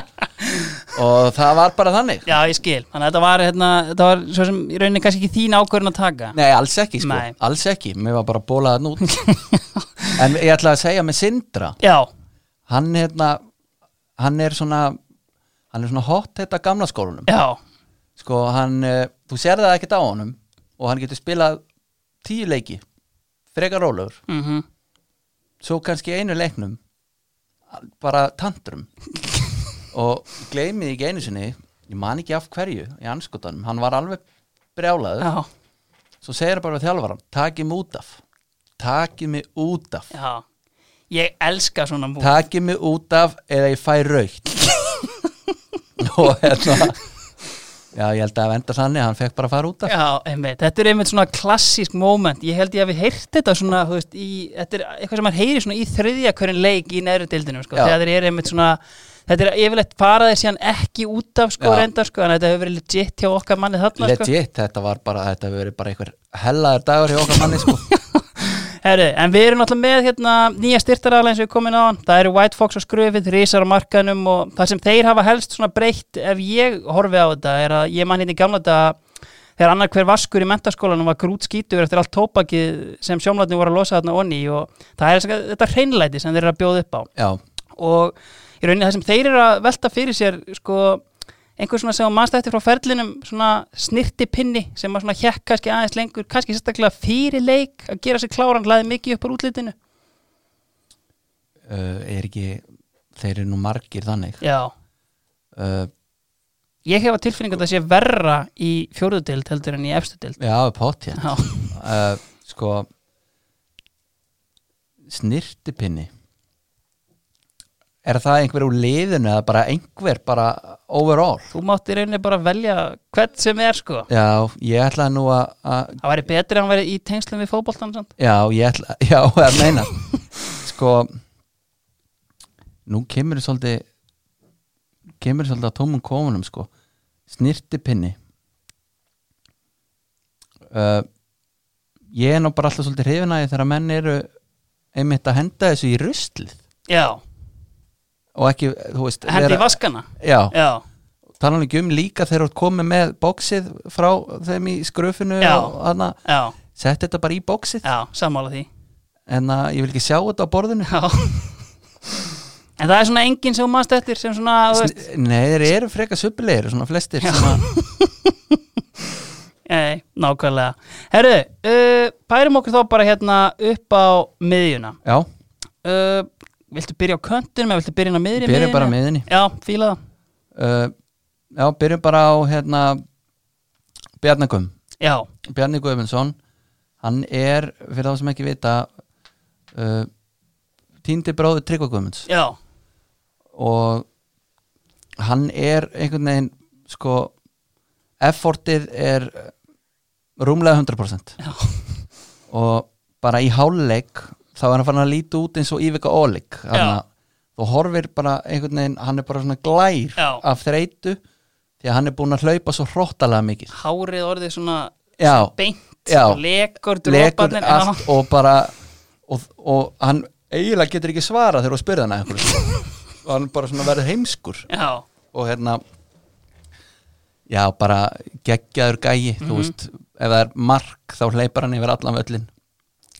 og það var bara þannig
já, ég skil. Þannig að þetta var, hérna, þetta var svo sem í rauninni kannski ekki þín ákvörðin að taka.
Nei, alls ekki sko,
Nei.
alls ekki Mér var bara að bóla þarna út <laughs> En ég ætla að segja með Sindra
Já,
Hann, hérna, hann er svona Hann er svona hot þetta gamla skólanum
já,
sko hann, eh, þú sér það ekkert á honum og hann getur spilað tíu leiki, frekar rólegur
mhm.
svo kannski í einu leiknum bara tantrum og gleymið ekki einu sinni ég man ekki af hverju í anskotanum hann var alveg brjálaður
Já,
svo segir hann bara við þjálfaran, takið mig út af takið mig út af
já. Ég elska svona múl.
takið mig út af eða ég fæ raukt <laughs> og hérna já ég held að venda þannig hann fekk bara að fara út af
Já, einmitt. Þetta er einmitt svona klassísk moment. Ég held ég að við heyrt þetta svona, þú veist, í, þetta er eitthvað sem maður heyri svona í þriðja hverjum leik í neðru deildinu, sko.
Já.
Þegar þeir eru einmitt svona, þetta er yfirleitt fara þeir síðan ekki út af, sko,
Já.
reyndar, sko, en þetta hefur verið legit hjá okkar manni þarna, sko.
legit, þetta var bara, þetta hefur verið bara einhver hellaður dagur hjá okkar manni sko.
<laughs> Herru, en við erum náttúrulega með hérna nýja styrtaraðlega eins og við komin á hann. Það eru White Fox og Skröfið, Rísar á markanum og það sem þeir hafa helst svona breytt ef ég horfi á þetta er að ég man hérna í gamla þetta þegar annar hver vaskur í mentaskólanum var grút skítur eftir allt tópakið sem sjómlarnir voru að losa þarna onni og það er þess- þetta hreinlæti sem þeir eru að bjóða upp á
já,
og í rauninni það sem þeir eru að velta fyrir sér sko einhver svona sem mannst eftir frá ferlinum svona snirtipinni sem að svona hjekk kannski aðeins lengur, kannski sérstaklega fyrir leik að gera sér kláran, hlaði mikið upp úr útlitinu
uh, er ekki þeir eru nú margir þannig
Já,
uh,
ég hef að tilfinningu að það sé verra í fjóruðdild heldur en í efstudild
já, pott hér
Já,
uh, sko snirtipinni er það einhver úr liðinu eða bara einhver, bara overall
þú mátt í rauninni bara velja hvern sem er sko
já, ég ætlaði nú að- að
Það væri betri að hann væri í tengslum við fótboltan samt.
Já, ég ætla, <laughs> já, það meina Sko Nú kemur þú svolítið kemur þú svolítið að tómum komunum sko. snirtipinni uh, Ég er nú bara alltaf svolítið hrifinæði þegar menn eru einmitt að henda þessu í ruslið
Já,
og ekki, þú veist
hendi í
vera-
vaskana
Já,
Já,
talan ekki um líka þegar þú ert komið með bóksið frá þeim í skröfinu
Já.
og hana,
já,
sett þetta bara í bóksið
já, sammála því
en að ég vil ekki sjá þetta á borðinu
Já En það er svona enginn sem þú manst eftir sem svona, þú veist,
Sn- Nei, þeir eru freka subbilegir svona flestir sem að,
ei, nákvæmlega Herru, uh, pærum okkur þá bara hérna upp á miðjuna
Já,
uh, Viltu byrja á köntinum eða viltu byrja inn á miðri
byrjum
miðjunni?
bara á miðinni
Já, fíla það
uh, Já, byrjum bara á hérna Bjarnagum
Já,
Bjarni Guðmundsson Hann er, fyrir þá sem ekki vita uh, týndi bróður Tryggva Guðmunds
já,
og hann er einhvern veginn sko effortið er eh, rúmlega 100%
já,
og bara í háluleik þá er hann farin að líta út eins og Ívika Ólik þannig
Já.
að þú horfir bara einhvern veginn, hann er bara svona glær
Já.
af þreytu því að hann er búin að hlaupa svo hróttalega mikið
hárið orðið svona
já,
beint
Já.
Lekur,
lekur
droparnir já.
allt og bara og, og hann eiginlega getur ekki svara þegar þú spyrði hann
<laughs>
eitthvað og hann bara svona verður heimskur
já,
og hérna já, bara geggjaður gæi
Mhm.
þú veist, ef það er mark þá hleypar hann yfir allan völlin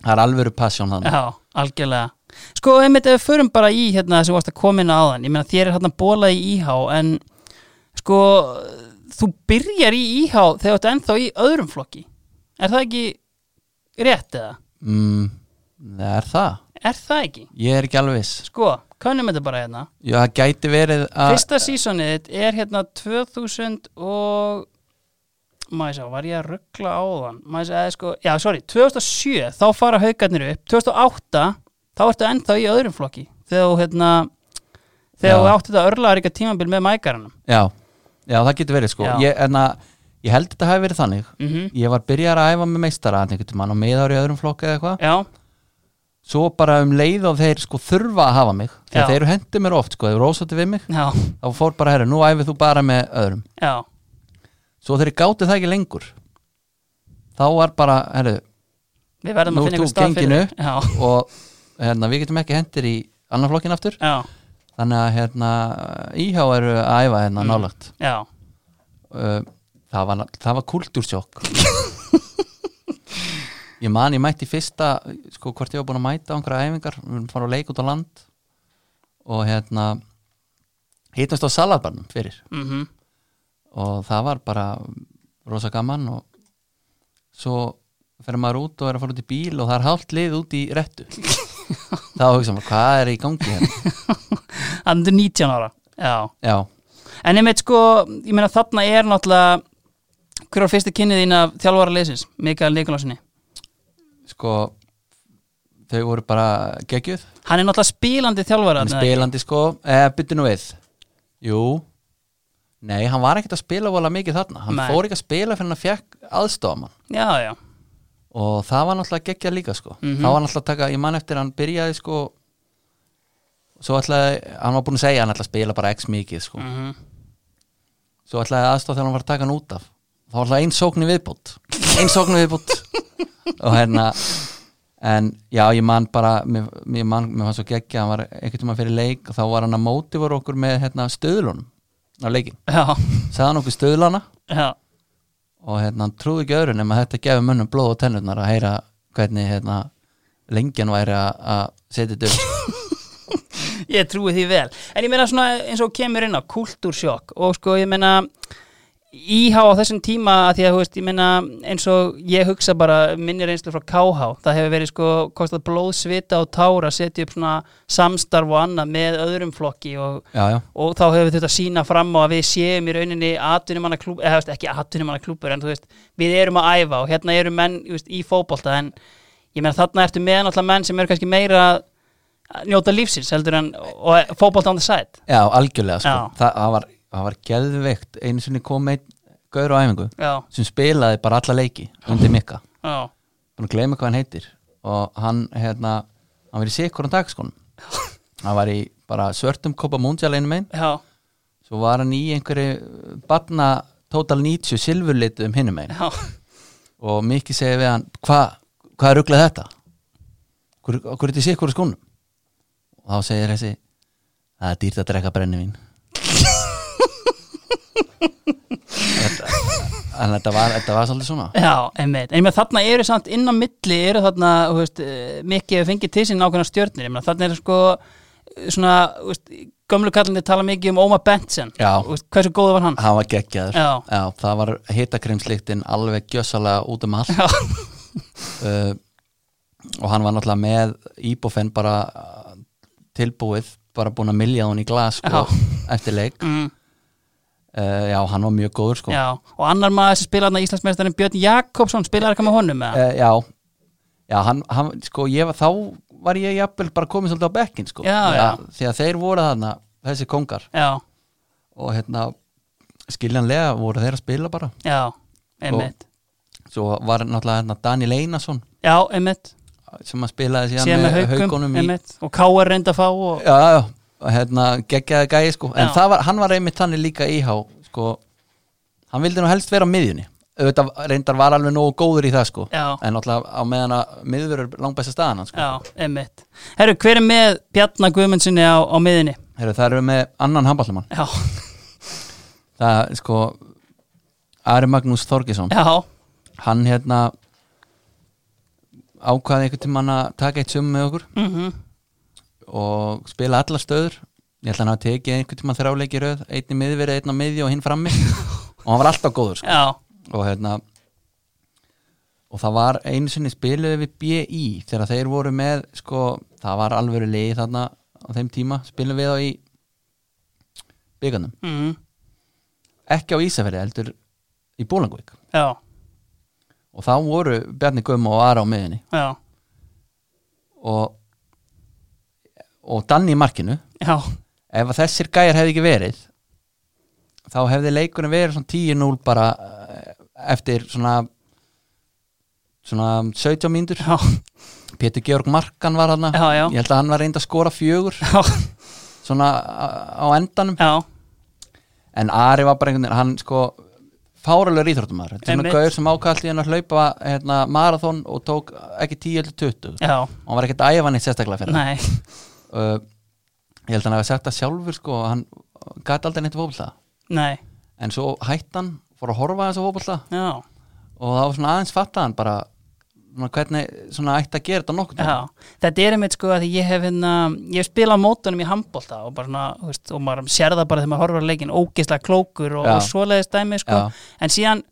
það er alvöru passjón þannig
Já, algjörlega Sko, einmitt ef við förum bara í hérna sem varst að koma inn á áðan Ég meina þér er hérna bóla í IH En sko, þú byrjar í IH þegar þú ert ennþá í öðrum flokki Er það ekki rétt eða?
mm, það er það,
Er það ekki?
ég er ekki alveg viss
Sko, kannum þetta bara hérna
já, það gæti verið að
Fyrsta sísonið þitt er hérna 2000 og maður sá, var ég að ruggla á þann maður sá, sko, já, sorry, 2007 þá fara haugarnir upp, 2008 þá ertu ennþá í öðrum flokki þegar þú, hérna þegar
Já.
þú átti þetta örlaðaríka tímabil með mækaranum
já, já, það getur verið sko
Já.
ég, en að, ég held þetta hafi verið þannig
mm
ég var byrjar að æfa með meistara þarna einhvern tímann og meðar í öðrum flokki eða eitthvað
já,
svo bara um leið og þeir sko þurfa að hafa mig
Já.
þegar þeir eru hendi mér oft sko, þeir eru ósáttu við mig
já,
þá fór bara herri, nú æfið þú bara með öðrum
já
svo þeir gátu það ekki lengur þá var bara, herri
við verðum
Nú
að
ert
finna einhver
þú
stað
gengin
fyrir
upp.
þig. já,
og hérna, við getum ekki hendir í annan flokkin aftur
já,
þannig að hérna, íhá eru að æfa hérna nálægt
já
uh, það var, það var kultúrsjokk ég man, ég mætti í fyrsta sko, hvort ég var búin að mæta á einhverja æfingar við erum fara að leika út á land og hérna hittast á salatbarnum fyrir
mhm <laughs>
og það var bara rosa gaman og svo fer maður út og er að fara út í bíl og það er hálft lið út í rettu
<laughs>
þá hugsa maður, hvað er í gangi hérna
andur 19 ára, já
já,
En einmitt sko, ég meina þarna er náttúrulega hver var fyrstu kynnið þín af þjálfara leysins, Mikael Nikolásinni
sko þau voru bara geggjuð
Hann er náttúrulega spílandi þjálfara
hann er
þarna, ekki?
spilandi sko, eða byttu nú við jú nei, hann var ekkert að spila vola mikið þarna hann
Nei.
fór ekki að spila fyrir hann að fekk aðstofamann
Já, já,
og það var náttúrulega geggjað líka sko
Mhm.
það var náttúrulega að taka, ég man eftir hann byrjaði sko svo ætlaði, hann var búin að segja hann ætlaði að spila bara x mikið sko
mm
svo ætlaði aðstof þegar hann var að taka hann út af þá var alltaf einsókn í viðbútt einsókn í viðbútt og hérna en já, ég man bara, mér, mér man mér fannst svo geggjað, hann var einhvern tímann fyrir leik og þá var hann að móti voru okkur með hérna, stöðlunum á leikin,
já,
sagði hann okkur stöðlana
já
og hérna, hann trúði ekki öðru nema að þetta gefi mönnum blóð og tennurnar að heyra hvernig hérna, lengjan væri að að setja þetta upp
Ég trúi því vel En ég meina svona eins og kemur inn á kultúrsjokk og sko ég meina íhá á þessum tíma að því að þú veist, ég meina eins og ég hugsa bara minni reynslu frá KH það hefur verið sko kostað blóð, svita og tár að setja upp svona samstarf og annað með öðrum flokki og
já, já,
og þá höfum við þetta að sína fram á að við séum í rauninni atvinnumanna klúb eða þú veist, ekki atvinnumanna klúbur en þú veist, við erum að æfa og hérna eru menn þú veist, í fótbolta en ég meina þarna ertu með náttúrulega menn sem eru kannski meira að njóta lífsins heldur en og fótbolta on the side
já, algjörlega sko.
Já.
það, það var, það var geðveikt einu sinni kom einn gaur á æfingu
já,
sem spilaði bara alla leiki undir Mikka,
já,
búin að gleyma hvað hann heitir og hann hérna hann var í sikkurum dagskon hann var í bara svörtum kopa múndjaleinu megin
já,
svo var hann í einhverju barna total 90 silfurlitu um hinum megin
já,
og Mikki segi við hann hvað hva er ruglað þetta hver, hver er þetta í sikkurum skónum og þá segir þessi það er dýrt að drekka brennivín <laughs> þetta, en þetta var, þetta var svolítið svona
já, einmitt en ég meina þarna eru samt inn á milli eru þarna, þú veist, eh, mikið hefur fengið til sín nákvæmna stjörnir, ég meina þarna eru sko eh, svona, þú veist, gömlu kallandi tala mikið um Óma Benson
Já.
Þú veist, hversu góðu
<laughs>
var hann?
hann var geggjaður
Já.
það var hitakrimslíktin alveg gjössalega út um
<laughs>
allt
Já.
uh, og hann var náttúrulega með íbúfenn bara uh, tilbúið bara búin að milja hún í glas sko, eftir leik
Mm.
uh, já, hann var mjög góður sko.
Já, og annar maður sem spilaði Íslandsmeistarinn Björn Jakobsson spilaði eitthvað með honum með
Uh, já, já hann, hann, sko, ég, var- þá var ég jafnvel bara komið svolítið á bekkin sko.
Já, já.
því að þeir voru þarna þessi kongar
Já,
og hérna skiljanlega voru þeir að spila bara
já, einmitt
svo var náttúrulega hérna Daniel Einarsson
Já, einmitt,
sem að spilaði síðan,
síðan með haukum
haugunum í,
einmitt. og Káar reynda að fá og...
já, já, og hérna, geggjaði gæi sko. en
Já.
það var, hann var einmitt þannig líka íhá sko. hann vildi nú helst vera á miðjunni auðvitað reyndar var alveg nógu góður í það sko.
Já.
en náttúrulega á meðan að miðjur er langbæsta staðan hans, sko.
Já, einmitt Herru, hver er með Bjarnar Guðmundssoni á, á miðinni?
Heru, það eru með annan handballamann
Já,
það, sko, Ari Magnús Þorgesson
<laughs> Já,
hann hérna ákvaði einhvern tímann að taka eitt sumum með okkur
mm
og spila alla stöður ég ætla hann að tekið einhvern tímann þráleiki í röð einn í miðverið, einn á miðju og hinn frammi og hann var alltaf góður sko.
já,
og hérna og það var einu sinni spiluðu við BI þegar þeir voru með sko, það var alvöru lið þarna á þeim tíma, spilum við á í byggarnum,
mm
ekki á Ísafjörði heldur í Bólangvík
já,
og þá voru Bjarni Guðma og Ara á miðinni
já,
og, og Danni í markinu
já,
ef að þessir gæjar hefði ekki verið þá hefði leikurinn verið svona 10-0 bara eh, eftir svona svona 17 mínútur
já,
Pétur Georg Markan var hann
Já, já.
ég held að hann var reynd að skora fjögur
já, <laughs>
svona á- á endanum
já,
en Ari var bara einhvern veginn hann sko fáralegur íþróttumar þetta er
Einmitt.
svona gauður sem ákalli hann að hlaupa hérna, marathon og tók ekki 10-20
já,
og hann var ekkert að æfa neitt sérstaklega fyrir það.
nei,
uh, ég held að hann hafa sagt það sjálfur sko, hann gæti aldrei neitt um fótbolta
nei,
en svo hættan fór að horfa þessu fótbolta
já,
og það var svona aðeins fattaðan bara svona, hvernig svona ætti að gera þetta nokkuð
já. Þetta er einmitt sko að ég hef hérna, ég hef spilað á mótunum í handbólta og bara svona, þú veist, og maður sér það bara þegar maður horfir á leikin, ógislega klókur og,
Já.
og svoleiðist dæmi sko,
Já.
en síðan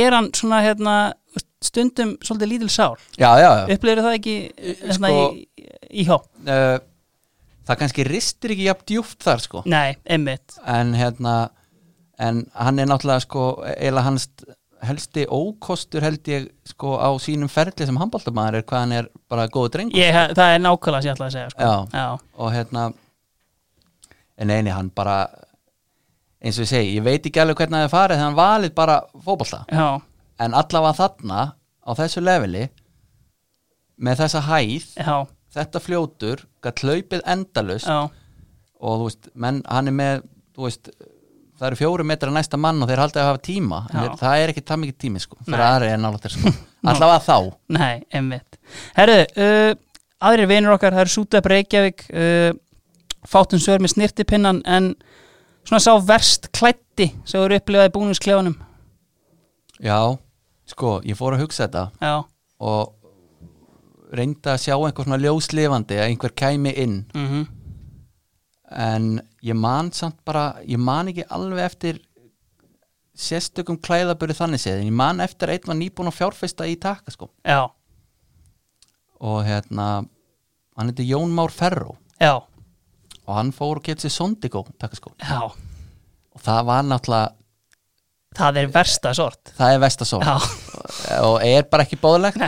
er hann svona hérna þú veist, stundum svolítið lítil sár,
já, já, já.
upplýður það ekki hérna
sko-
í, í hjá?
Uh, það kannski ristir ekki jafn djúpt þar sko
Nei, einmitt,
en hérna en hann er náttúrulega sko eða hans helsti ókostur held ég sko á sínum ferli sem handbóltamæður er hvað hann er bara góðu drengur
ég, það er nákvæmlega sem ég ætla að segja sko.
já.
Já,
og hérna en eini hann bara eins og ég segi, ég veit ekki alveg hvernig það er farið þegar hann valið bara fótbolta
já,
en allavega þarna á þessu leveli með þessa hæð
já,
þetta fljótur, gætt hlaupið endalust
já,
og þú veist, menn, hann er með þú veist, það eru fjóru metra næsta mann og þeir haldið að hafa tíma en
Já.
þeir, það er ekki það mikið tími sko, fyrir
Nei.
aðri er nála þér sko
<laughs>
allavega þá,
nei, einmitt Herðu, uh, aðrir vinur okkar það eru Sútep Reykjavík uh, Fátun Sör með snirtipinnan en svona sá verst klætti sem eru upplifaði búningsklefanum
já sko, ég fór að hugsa þetta
Já,
og reynda að sjá einhver svona ljóslifandi að einhver kæmi inn
mhm,
en ég man samt bara ég man ekki alveg eftir sérstökum klæðaburði þannig séð en ég man eftir að einn var nýbúin að fjárfesta í taka sko
já,
og hérna hann heiti Jón Már Ferro
já,
og hann fór og kefti sér Sondigo takaskó
já
og það var náttúrulega
Það er versta sort
það er vestasó <laughs>
Já,
og er bara ekki bóðlegt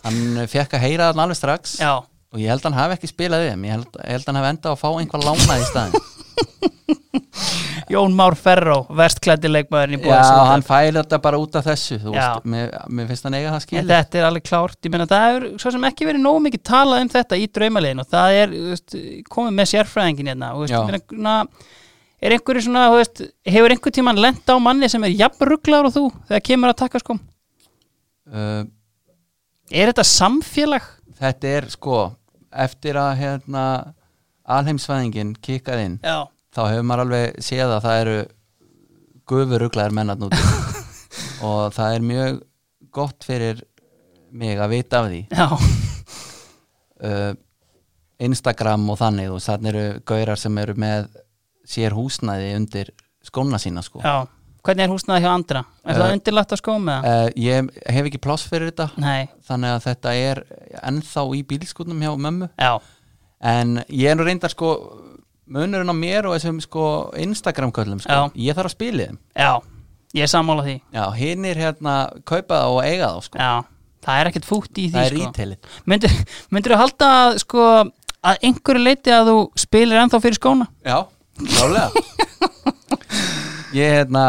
hann fekk að heyra þann alveg strax
já,
og ég held að hann hafi ekki spilað við þeim. ég held, ég held að hann hafi endað að fá einhver lánað í staðin
Jón Már Ferró, verstklætti leikmaðurinn í búið
Já, hann fælir þetta bara út af þessu þú
Já.
veist, mér, mér finnst hann eiga það
En
skil
þetta er alveg klárt, ég meina það er svo sem ekki verið nógu mikið talað um þetta í draumalegin og það er þú veist, komið með sérfræðingin hérna og, þú veist,
Já.
ég meina, na, er einhverju svona þú veist, hefur einhver tíman lent á manni sem er jafn rugglar og þú þegar kemur að taka sko
uh,
er þetta samfélag?
Þetta er sko eftir að hérna, alheimsvæðingin kikkað inn
Já,
þá hefur maður alveg séð að það eru gufuruglaðir mennar núti
<laughs>
og það er mjög gott fyrir mig að vita af því
já,
uh, Instagram og þannig og þannig eru gaurar sem eru með sér húsnæði undir skóna sína sko
já Hvernig er húsnaði hjá andra? Er það
Eh,
undirlagt að skóma? Uh,
uh, Ég hef ekki pláss fyrir þetta
Nei,
þannig að þetta er ennþá í bílskutnum hjá mömmu
já,
en ég er nú reyndar sko munurinn á mér og þessum sko Instagram köllum sko,
Já.
ég þarf að spila í þeim
já Ég er sammála því,
já, hinn er hérna kaupa það og eiga það sko,
já Það er ekkert fútt í því
það er
sko.
retailið
Myndir, myndir þú halda að, sko, að einhverju leiti að þú spilir ennþá fyrir skóna?
já,
<laughs>
klálega ég hérna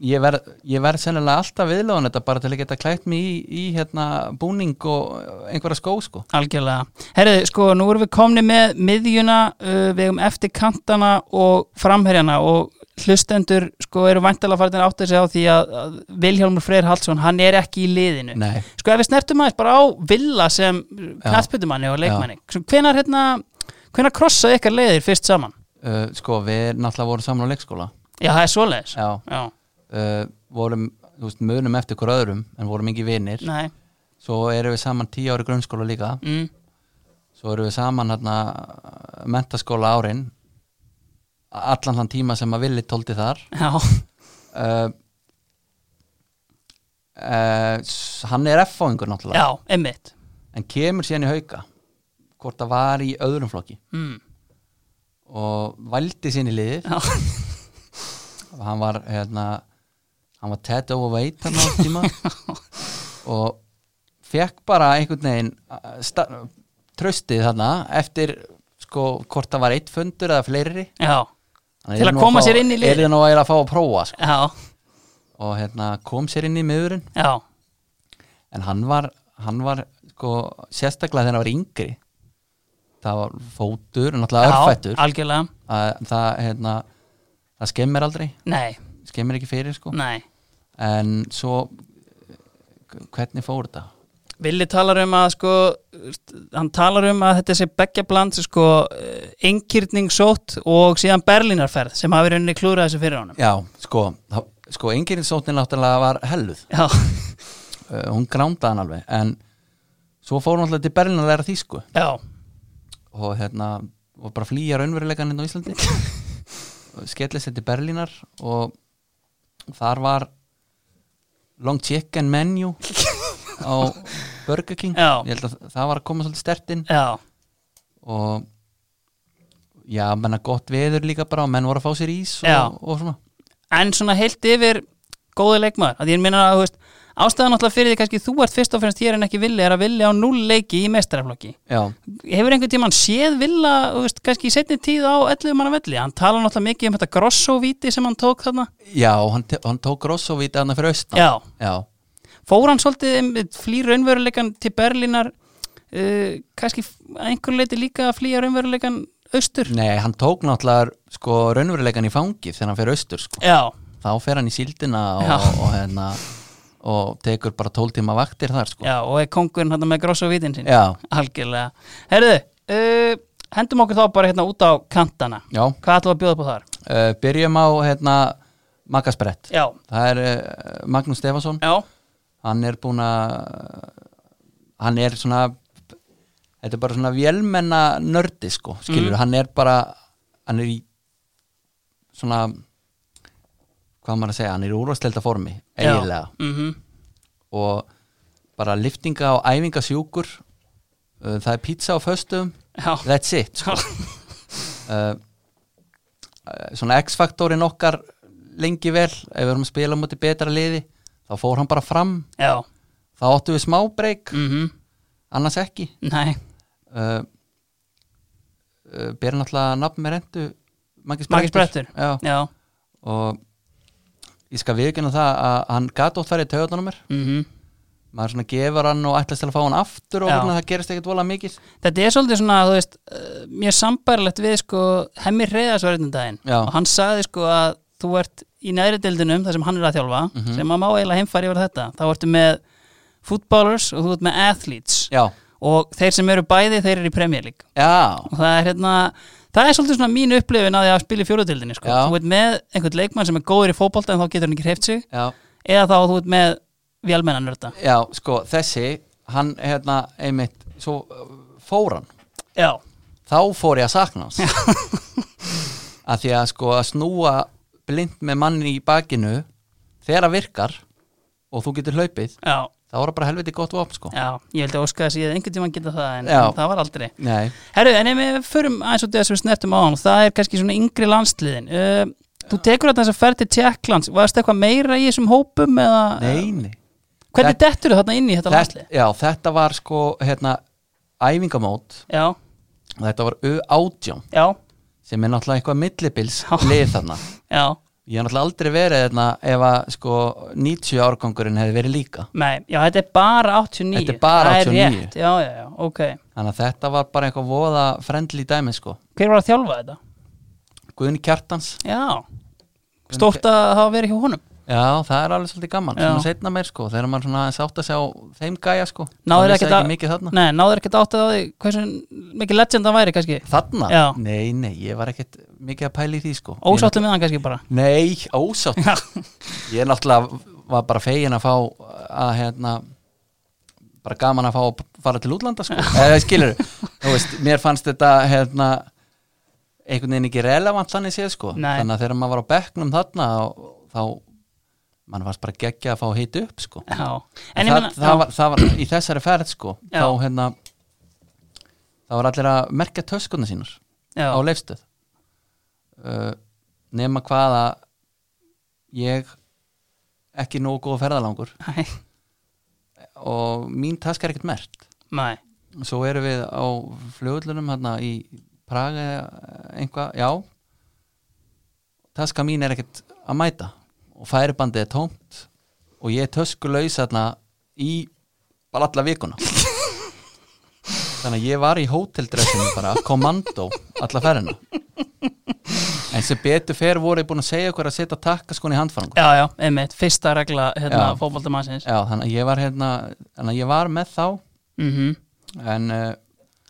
ég verð, ég verð sennilega alltaf viðlóðan þetta bara til að geta klætt mig í, í hérna búning og einhverja skó sko
Algjörlega. Herriði, sko, nú erum við komni með miðjuna, uh, við erum eftir kantana og framherjana og hlustendur, sko, eru vantilega farin að átta sig á því að, að Vilhjálmur Freyr Hallsson, hann er ekki í liðinu.
nei,
Sko, ef við snertum aðeins bara á Villa sem knallbyttumanni og leikmanni, hvenar, hérna, hvenar krossaði ykkar leiðir fyrst saman?
uh, sko við náttúrulega vorum saman á leikskóla
Já, það er svoleiðis.
já,
Já,
uh, vorum þú veist, munum eftir hver öðrum en vorum ekki vinir
Nei,
svo erum við saman tíu ári grunnskóla líka
mm,
svo erum við saman hérna mentaskóla árin allan þann tíma sem að villi tóldi þar
já,
uh, uh, s- hann er F-fóðingur náttúrulega
já, einmitt
en kemur síðan í hauka hvort það var í öðrum flokki
mm,
og valdi sín í liðið
Já, <laughs>
og hann var hérna, hann var Ted overweight hann á tíma
<laughs>
og fekk bara einhvern veginn uh, sta- tröstið þarna eftir sko hvort það var eitt fundur eða fleiri
já,
Hann
Til
yrði
að
nú
koma
fá-
sér inn í liðið.
yrði nú eiginlega að fá að prófa sko.
já,
og hérna kom sér inn í miðurinn
já
en hann var, hann var sko, sérstaklega þegar hann var yngri það var fótur en náttúrulega
Já,
örfættur
algjörlega
að það, hérna, það skemmir aldrei
Nei,
skemmir ekki fyrir sko
nei
en svo eh, hvernig fór þetta?
Villi talar um að sko hann talar um að þetta sé beggja bland sko einkýrning sótt og síðan Berlínarferð sem hafi rauninni klúrað þessu fyrir honum
Já, sko, þá- sko engirinsóttin náttúrulega var helluð
Já,
uh, hún grándaði hann alveg en svo fór hún alltaf til Berlín að læra þýsku
já,
og hérna og bara flýja raunveruleikan inn á Íslandi skellist þetta til Berlínar og þar var long chicken menu á Burger King
Já.
ég held að það var að koma svolítið stert inn
já,
og já, menna gott veður líka bara og menn voru að fá sér ís
Já.
og, og svona
en svona heilt yfir góði leikmaður, að ég minna að þú veist, ástæðan alltaf fyrir því kannski þú ert fyrst og fremst hér en ekki villi er að villi á null leiki í mestaraflokki
já,
hefur einhvern tímann séð Villa þú veist, kannski í setni tíð á 11 manna velli hann tala náttúrulega mikið um þetta grossóvíti sem hann tók þarna
já hann, te- hann tók rossovít aðna fyrir austan
já,
Já,
fór hann svolítið flýr raunveruleikan til Berlínar uh, kannski að einhver leiti líka að flýja raunveruleikan austur
nei, hann tók náttúrulega sko raunveruleikan í fangið þegar hann fer austur sko.
já,
þá fer hann í síldina og,
Já.
og, hérna, og tekur bara 12 tíma vaktir þar sko.
já, og er kongurinn hann með grossóvítin sín
Já,
algjörlega, herðu uh, hendum okkur þá bara hérna út á kantana
já.
hvað ætlum við að bjóða upp á þar?
Uh, byrjum á hérna, Magasbrett
já,
það er uh, Magnús Stefansson
já,
hann er búin að hann er svona þetta er bara svona vélmenna nördi sko, skilur, hann er bara hann er í svona hvað á maður að segja, hann er í úrvastelda formi eiginlega
mm
og bara liftinga og æfinga sjúkur uh, það er pizza á föstum
já,
that's it sko. uh, uh, svona X-faktorin okkar lengi vel ef við erum að spila múti betra liði þá fór hann bara fram
<laughs> já
þá áttum við smá breyk
mm
annars ekki
nei,
uh, uh, ber náttúrulega nafn með rentu Maggi
Maggi Sprettur.
Já,
já
og ég skal viðkynna það að hann gat ótt færið taugarnar á mér
mm
maður svona gefur hann og ætlast til að fá hann aftur og
Já.
svona, það gerist ekkert vola mikið
Þetta er svolítið svona, þú veist, uh, mér sambærilegt við sko hemmi reyðas var einn daginn
Já.
og hann sagði sko að þú ert í næri deildinum þar sem hann er að þjálfa
Mhm.
sem að má eiginlega heimfæri yfir þetta þá ertu með footballers og þú ert með athletes
já,
og þeir sem eru bæði þeir eru í Premier League
já,
og það er hérna það er svolítið svona mín upplifin að því að spila í fjóruðildinni sko.
Já.
þú ert með einhvern leikmann sem er góður í fótbolta en þá getur hann ekki hreift sig
já,
eða þá þú ert með vélmennan nörda
já sko þessi, hann hérna einmitt, svo uh, fór hann
Já,
þá fór ég að sakna hans að því að sko að snúa blind með manni í bakinu þegar það virkar og þú getur hlaupið,
já,
þá er það bara helviti gott vopn sko.
já, ég held að óska þess að ég einhvern tímann geta það en,
Já.
en það var aldrei
Nei,
Herru, en ef við förum aðeins út í þess að við snertum á hann það er kannski svona yngri landsliðin uh, Þú tekur þetta þess að ferð til Tjekklands Varst eitthvað meira í þessum hópum eða,
neini
Hvernig dettur þú þarna inn í þetta landslið?
já, þetta var sko hérna, æfingamót
Já,
og þetta var U18
já,
sem er náttúrulega eitthvað millibils
Já.
lið þarna
já
ég hef náttúrulega aldrei verið þarna ef að sko 90 árgangurinn hefði verið líka
Nei, já, þetta er bara 89
Þetta er bara
Það
89.
rétt, já, já, já, ok
þannig að þetta var bara eitthvað voða frendli dæmi sko,
Hver var að þjálfa þetta?
Guðni Kjartans
Já Stórt að hafa verið hjá honum
já, það er alveg svolítið gaman,
Já.
svona setna meir sko þegar maður svona sátt að sjá þeim gæja sko
Náður
Það
ekkert
vissi
að-
ekki mikið þarna
Nei, náður ekkert átt að því hversu mikið legend hann væri kannski
þarna?
Já.
Nei, nei, ég var ekkert mikið að pæla í því sko Ég- <laughs>
Ósáttu með hann kannski bara
Nei, ósátt
Já,
ég er náttúrulega var bara fegin að fá að hérna bara gaman að fá að fara til
<laughs>
útlanda sko. eða skilur, þú veist, mér fannst þetta hérna einhvern veginn ekki relevant þannig séð sko
Nei.
þannig að þegar maður var á bekknum þarna og- þá, mann varst bara geggja að fá að hita upp sko
já. En
það,
ég meina,
það, var, það var í þessari ferð sko
Já.
þá hérna þá var allir að merkja töskuna sínur
já,
á leifstöð uh, nema hvað að ég ekki nógu góð ferðalangur
Nei,
og mín taska er ekkert merkt
nei,
svo erum við á flugulunum hérna í Praga eða eitthvað, já taska mín er ekkert að mæta og færibandið er tómt og ég er töskulaus hérna í bara alla vikuna þannig að ég var í hóteldressinu bara, kommando alla ferðina en sem betur fer voru ég búin að segja okkur að setja takkaskon í handfarangu
já, já, einmitt, fyrsta regla hérna,
Já.
fótboltamannsins
já, þannig að ég var hérna þannig að ég var með þá
mm
en uh,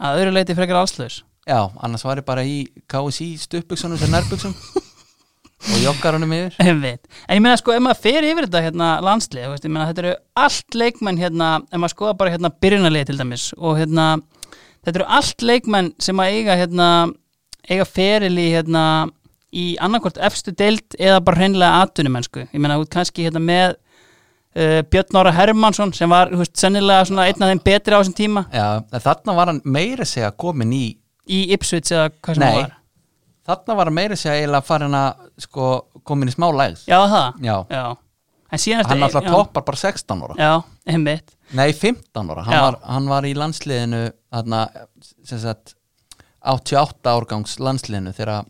að öðru leiti frekar allslaus
Já, annars var ég bara í KSI stuppbuksunum sem nærbuksum og joggarunum yfir
einmitt, en ég meina sko, ef maður fer yfir þetta hérna landslið, þú veist, ég meina þetta eru allt leikmenn hérna, ef maður skoða bara hérna byrjunarlið til dæmis og hérna þetta eru allt leikmenn sem að eiga hérna, eiga feril í hérna í annarkvort efstu deild eða bara hreinlega atvinnumennsku ég meina, þú ert kannski hérna með uh, Björn Ára Hermansson sem var, þú veist, sennilega svona einn af þeim betri á þessum tíma
Já, en þarna var hann meira að segja komin í
í Ipswich eða hvað sem
Nei,
það var
þarna var hann meira að segja eiginlega farin að sko, komin í smá lægð
Já, það,
Já,
já En síðan
hann
ertu-
alltaf
já.
toppar bara 16 ára
Já, einmitt
Nei, 15 ára, hann
Já.
var, hann var í landsliðinu þarna, sem sagt 88 árgangs landsliðinu þegar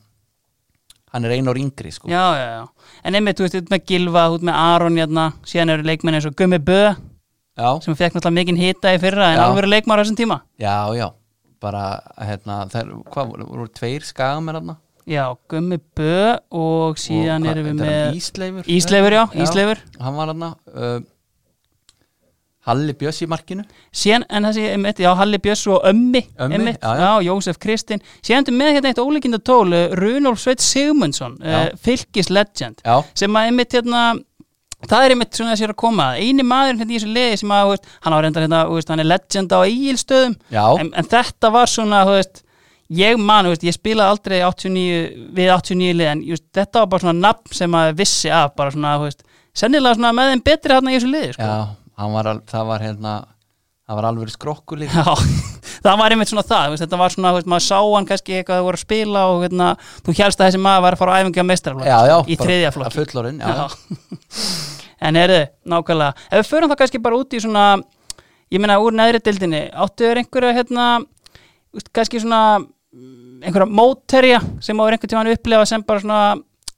hann er ein ár yngri sko.
Já, já, já. En einmitt, þú veist, út með Gilva, út með Aron, hérna, síðan eru leikmenn eins og Gummi Bö,
Já.
sem fekk náttúrulega mikinn hita í fyrra, en
Já.
alveg eru leikmar á þessum tíma.
já, já bara, hérna, þær, hvað voru, voru tveir skagamer hann?
Já, Gummi Bö og síðan
Og hvað-
erum við
þetta er hann
með...
Ísleifur
Ísleifur, já, Ísleifur.
Hann var hann uh, Halli Bjöss í markinu
Síðan, en þessi, einmitt, já, Halli Björns og Ömmi,
Ömmi,
einmitt,
já, já.
Jósef Kristinn. Síðan erum með hérna eitt ólíkinda tól, Runolf Sveit Sigmundsson, uh,
Já.
Fylkis Legend,
Já,
sem að einmitt, hérna, það er einmitt svona þessi er að koma. að. Eini maðurinn hérna í þessu liði sem að, þú veist, hann á reyndar hérna, þú veist, hann er legend á Egilstöðum,
já,
en, en þetta var svona þú veist, ég man, þú veist, ég spilaði aldrei 89, við 89 lið en just, þetta var bara svona nafn sem maður vissi af bara svona, þú veist, sennilega svona með þeim betri hann í þessu liði, sko
já
<laughs>
hann var, al- Það var hérna Það var alveg skrokkur
<laughs>
líka
það var einmitt svona það, þú veist, þetta var svona þú veist, maður sá hann kannski eitthvað að það voru að spila og hérna, þú hélst að þessi maður var að fara á æfingi á meistaraflokk
já, já,
í þriðja flokki
Fullorinn, já, já.
en heyrðu, nákvæmlega ef við förum þá kannski bara út í svona ég meina úr neðri dildinni, áttu er einhverja hérna, úst, kannski svona mm, einhverja mótterja sem áður einhvern tímann upplefa sem bara svona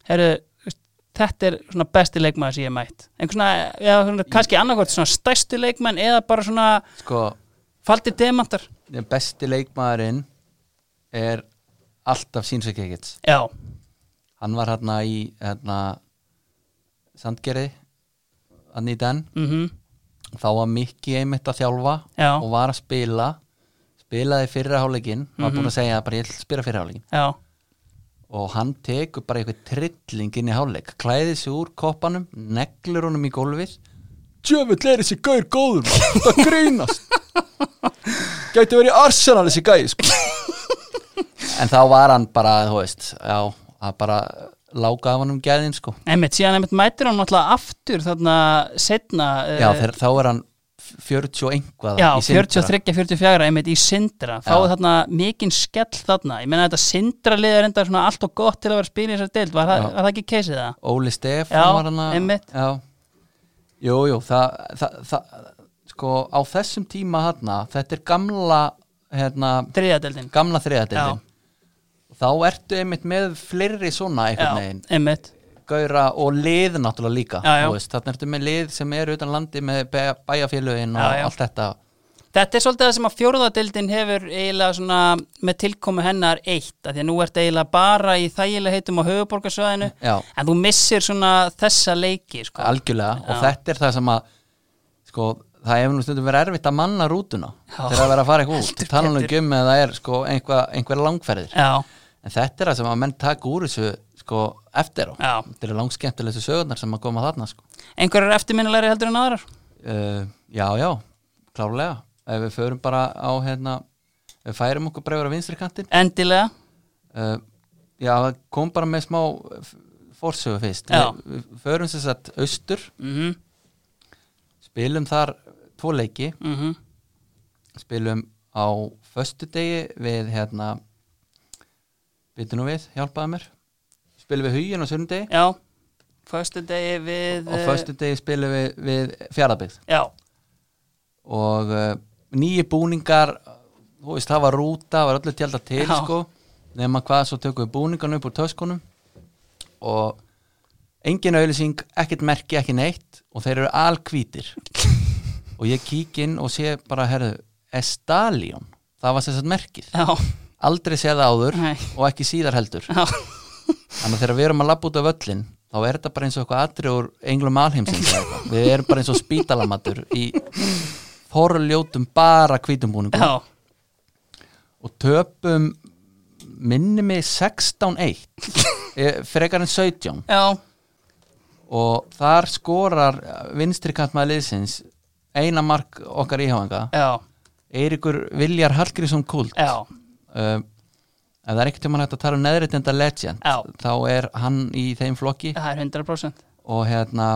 heyrðu, úst, þetta er svona besti leikmaður sem ég hef mætt einhver svona, eða svona, kannski annarkvort svona stærsti leikmenn eða bara svona
Sko,
faldi demantar
besti leikmaðurinn er alltaf sínsveikikits
já,
Hann var hérna í hérna, Sandgerði hann í den
mhm,
þá var Mikki einmitt að þjálfa
Já.
og var að spila spilaði fyrraháleikin mm var búin
Mhm.
að segja bara ég ætla að spila fyrraháleikin
já
og hann tekur bara eitthvað trilling inn í háleik klæðið sér úr koppanum neglur honum í gólfið djöfull er þessi gaur góður maður, það grínast gæti verið í Arsenal þessi gæi sko. en þá var hann bara þú veist, já, hann bara lága af hann um gæðin sko
einmitt, síðan einmitt mætir hann náttúrulega aftur þarna eh, setna
já, þeir, þá er hann 40 og einhvað
Já,
í Sindra.
43-44 einmitt í Sindra fáið þarna mikinn skell þarna ég meina þetta Sindra liður enda svona allt og gott til að vera að spila í þessar deild, var, það-
Já.
var það ekki keisið það?
Óli Stef
Já,
var hana,
einmitt.
já. Jú, jú, það, það, það sko, á þessum tíma hana, þetta er gamla hérna,
Þriðja deildin
gamla þriðadeildin þá ertu einmitt með fleiri svona
Já,
einhvern veginn,
einmitt
gauðra og lið náttúrulega líka,
Já, já.
þú veist, þannig ertu með lið sem er utan landi með bæ- bæjarfélögin og
Já, já.
allt þetta
Þetta er svolítið það sem að fjórðadeildin hefur eiginlega svona með tilkomu hennar eitt, af því að nú ert eiginlega bara í þægilega heitum á höfuborgarsvæðinu
Já.
en þú missir svona þessa leiki sko.
algjörlega og þetta er það sem að sko, það hefur nú stundum verið erfitt að manna rútuna
Já.
þegar að vera að fara eitthvað út
Heldur
talanum
betur.
um að það er sko, einhver, einhver langferðir
Já,
en þetta er það sem að menn taka úr þessu sko eftir á
Já.
þetta eru langskemmtilegstu sögurnar sem að koma þarna sko.
Einhverjar eftirminnilegri heldur en aðrar?
uh, já, já, klárlega ef við förum bara á hérna, ef við færum okkur bregður á vinstri kantinn
Endilega.
uh, já, það kom bara með smá eh, f- forsögu fyrst
Já.
við, við förum sem sagt austur
Mm -hmm.
spilum þar tvo leiki
mhm.
spilum á föstudegi við hérna byttu nú við, hjálpaðu mér spilum við hugin á sunnudegi
Já. Föstu degi við...
og
eh,
föstudegi spilum við, við fjaraðbyggð
Já.
og uh, nýju búningar þú veist, það var rúta, var öllu tjálta til
Já.
sko, nema hvað svo tökum við búningan upp úr töskunum og engin auðlýsing ekkert merki, ekki neitt og þeir eru
<laughs>
alhvítir og ég kík inn og sé bara, herðu Estalion, það var sem sagt merkið
Já.
aldrei séð það áður
Nei.
og ekki síðar heldur
Já.
þannig að þegar við erum að labba út af völlin þá er þetta bara eins og eitthvað atri úr englum alheimsins eða eitthvað. við erum bara eins og spítalamatur í forljótum bara hvítumbúningum
Já.
og töpum minni mig 16-1 eh, frekar en 17
Já.
og þar skorar vinstri kantmaður liðsins eina mark okkar íhjáðanga
Já.
Eirikur Viljar Hallgrísson Kult
Já.
uh, ef það er ekkert um hann hægt að tala um neðritinda legend
Já.
þá er hann í þeim flokki
Það er 100%.
og hérna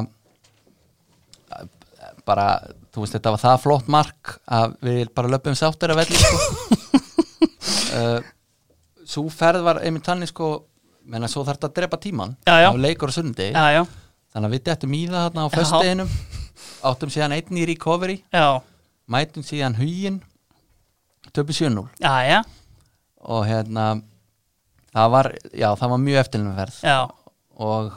bara, þú veist, þetta var það flott mark að við bara löpum sáttir að velli sko.
<laughs>
uh, svo ferð var einmitt þannig sko, menna svo þarf þetta að drepa tíman
Já, já.
á leikur og sundi
Já, já.
þannig að við dettum í það þarna á
Já.
föstudeginum áttum síðan einn í recovery
Já.
mætum síðan hugin töpu 7-0
Já, já.
og hérna það var, já, það var mjög eftirlumverð
Já.
og,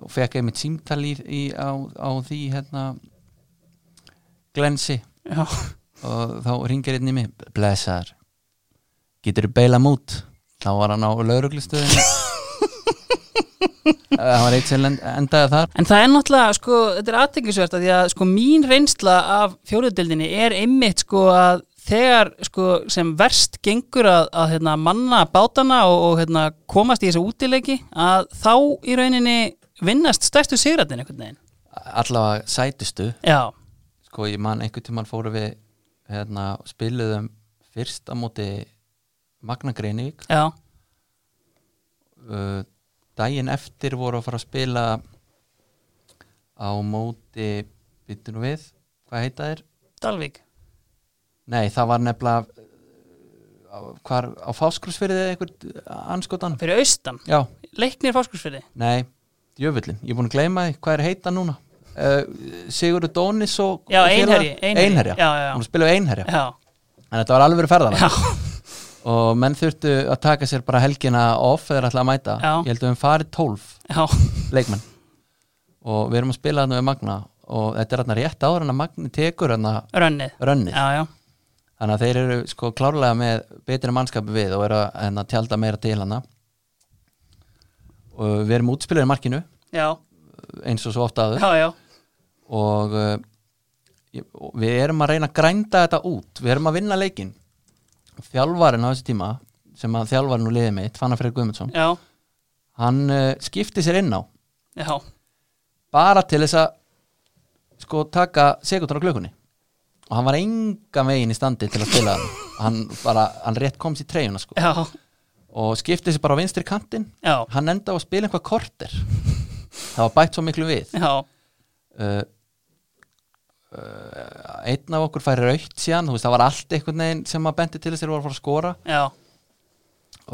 og fekk einmitt símtal í, í, á, á því hérna glensi
Já.
og þá ringir einn í mig blessaður, getur þú beila mút þá var hann á lauruglistöðinu það Eh, var eitt sem lend- endaði þar
En það er náttúrulega, sko, þetta er aðteklisvert að því að, sko, mín reynsla af fjóruðdeldinni er einmitt, sko, að þegar, sko, sem verst gengur að, að hérna, manna bátana og, og hérna, komast í þessu útileiki að þá í rauninni vinnast stærstu sigrættin einhvern veginn.
allavega sætustu
Já,
sko ég man einhvern tímann fóru við hérna, spiluðum fyrst á móti Magna Greinivík
já,
uh, daginn eftir voru að fara að spila á móti byttu nú við, hvað heita þér?
Dalvík.
Nei, það var nefnilega uh, á, hvar, á fáskursfyrði eitthvað anskotan
Fyrir austan,
Já,
leiknir fáskursfyrði.
nei, djöfullin, ég er búin að gleyma því hvað er heita núna uh, Sigurður Dónis og
Já,
og félagar?
Einherji, Einherji.
Einherja,
Já, já, já.
hún spilaði einherja
Já,
en þetta var alveg ferðan
já,
og menn þurftu að taka sér bara helgina off eða ætla að mæta
Já.
ég held að við höfum farið 12
já,
leikmenn og við erum að spila þarna við Magna og þetta er þarna rétt áður en að Magni tekur þarna
rönnið.
rönnið
Já, já,
þannig að þeir eru sko klárlega með betri mannskapi við og eru að hérna, tjálta meira til hana og við erum útspilaðir í markinu
já,
eins og svo ofta aður
já, já,
og, uh, ég- og við erum að reyna að grænda þetta út við erum að vinna leikin þjálfarin á þessi tíma sem að þjálfarin úr liðið mitt, Fannar Freyr Guðmundsson
já,
hann uh, skipti sér inn á
já,
bara til þess að sko taka sekundar á klökunni og hann var engan veginn í standi til að spila hann hann, bara, hann rétt kom sér treyjuna sko
já,
og skipti sér bara á vinstri kantinn
já,
hann enda á að spila einhvað korter það var bætt svo miklu við
já,
uh, uh, einn af okkur færi raukt síðan þú veist, það var allt einhvern veginn sem að benti til þess að þeir voru að fara að skora
já,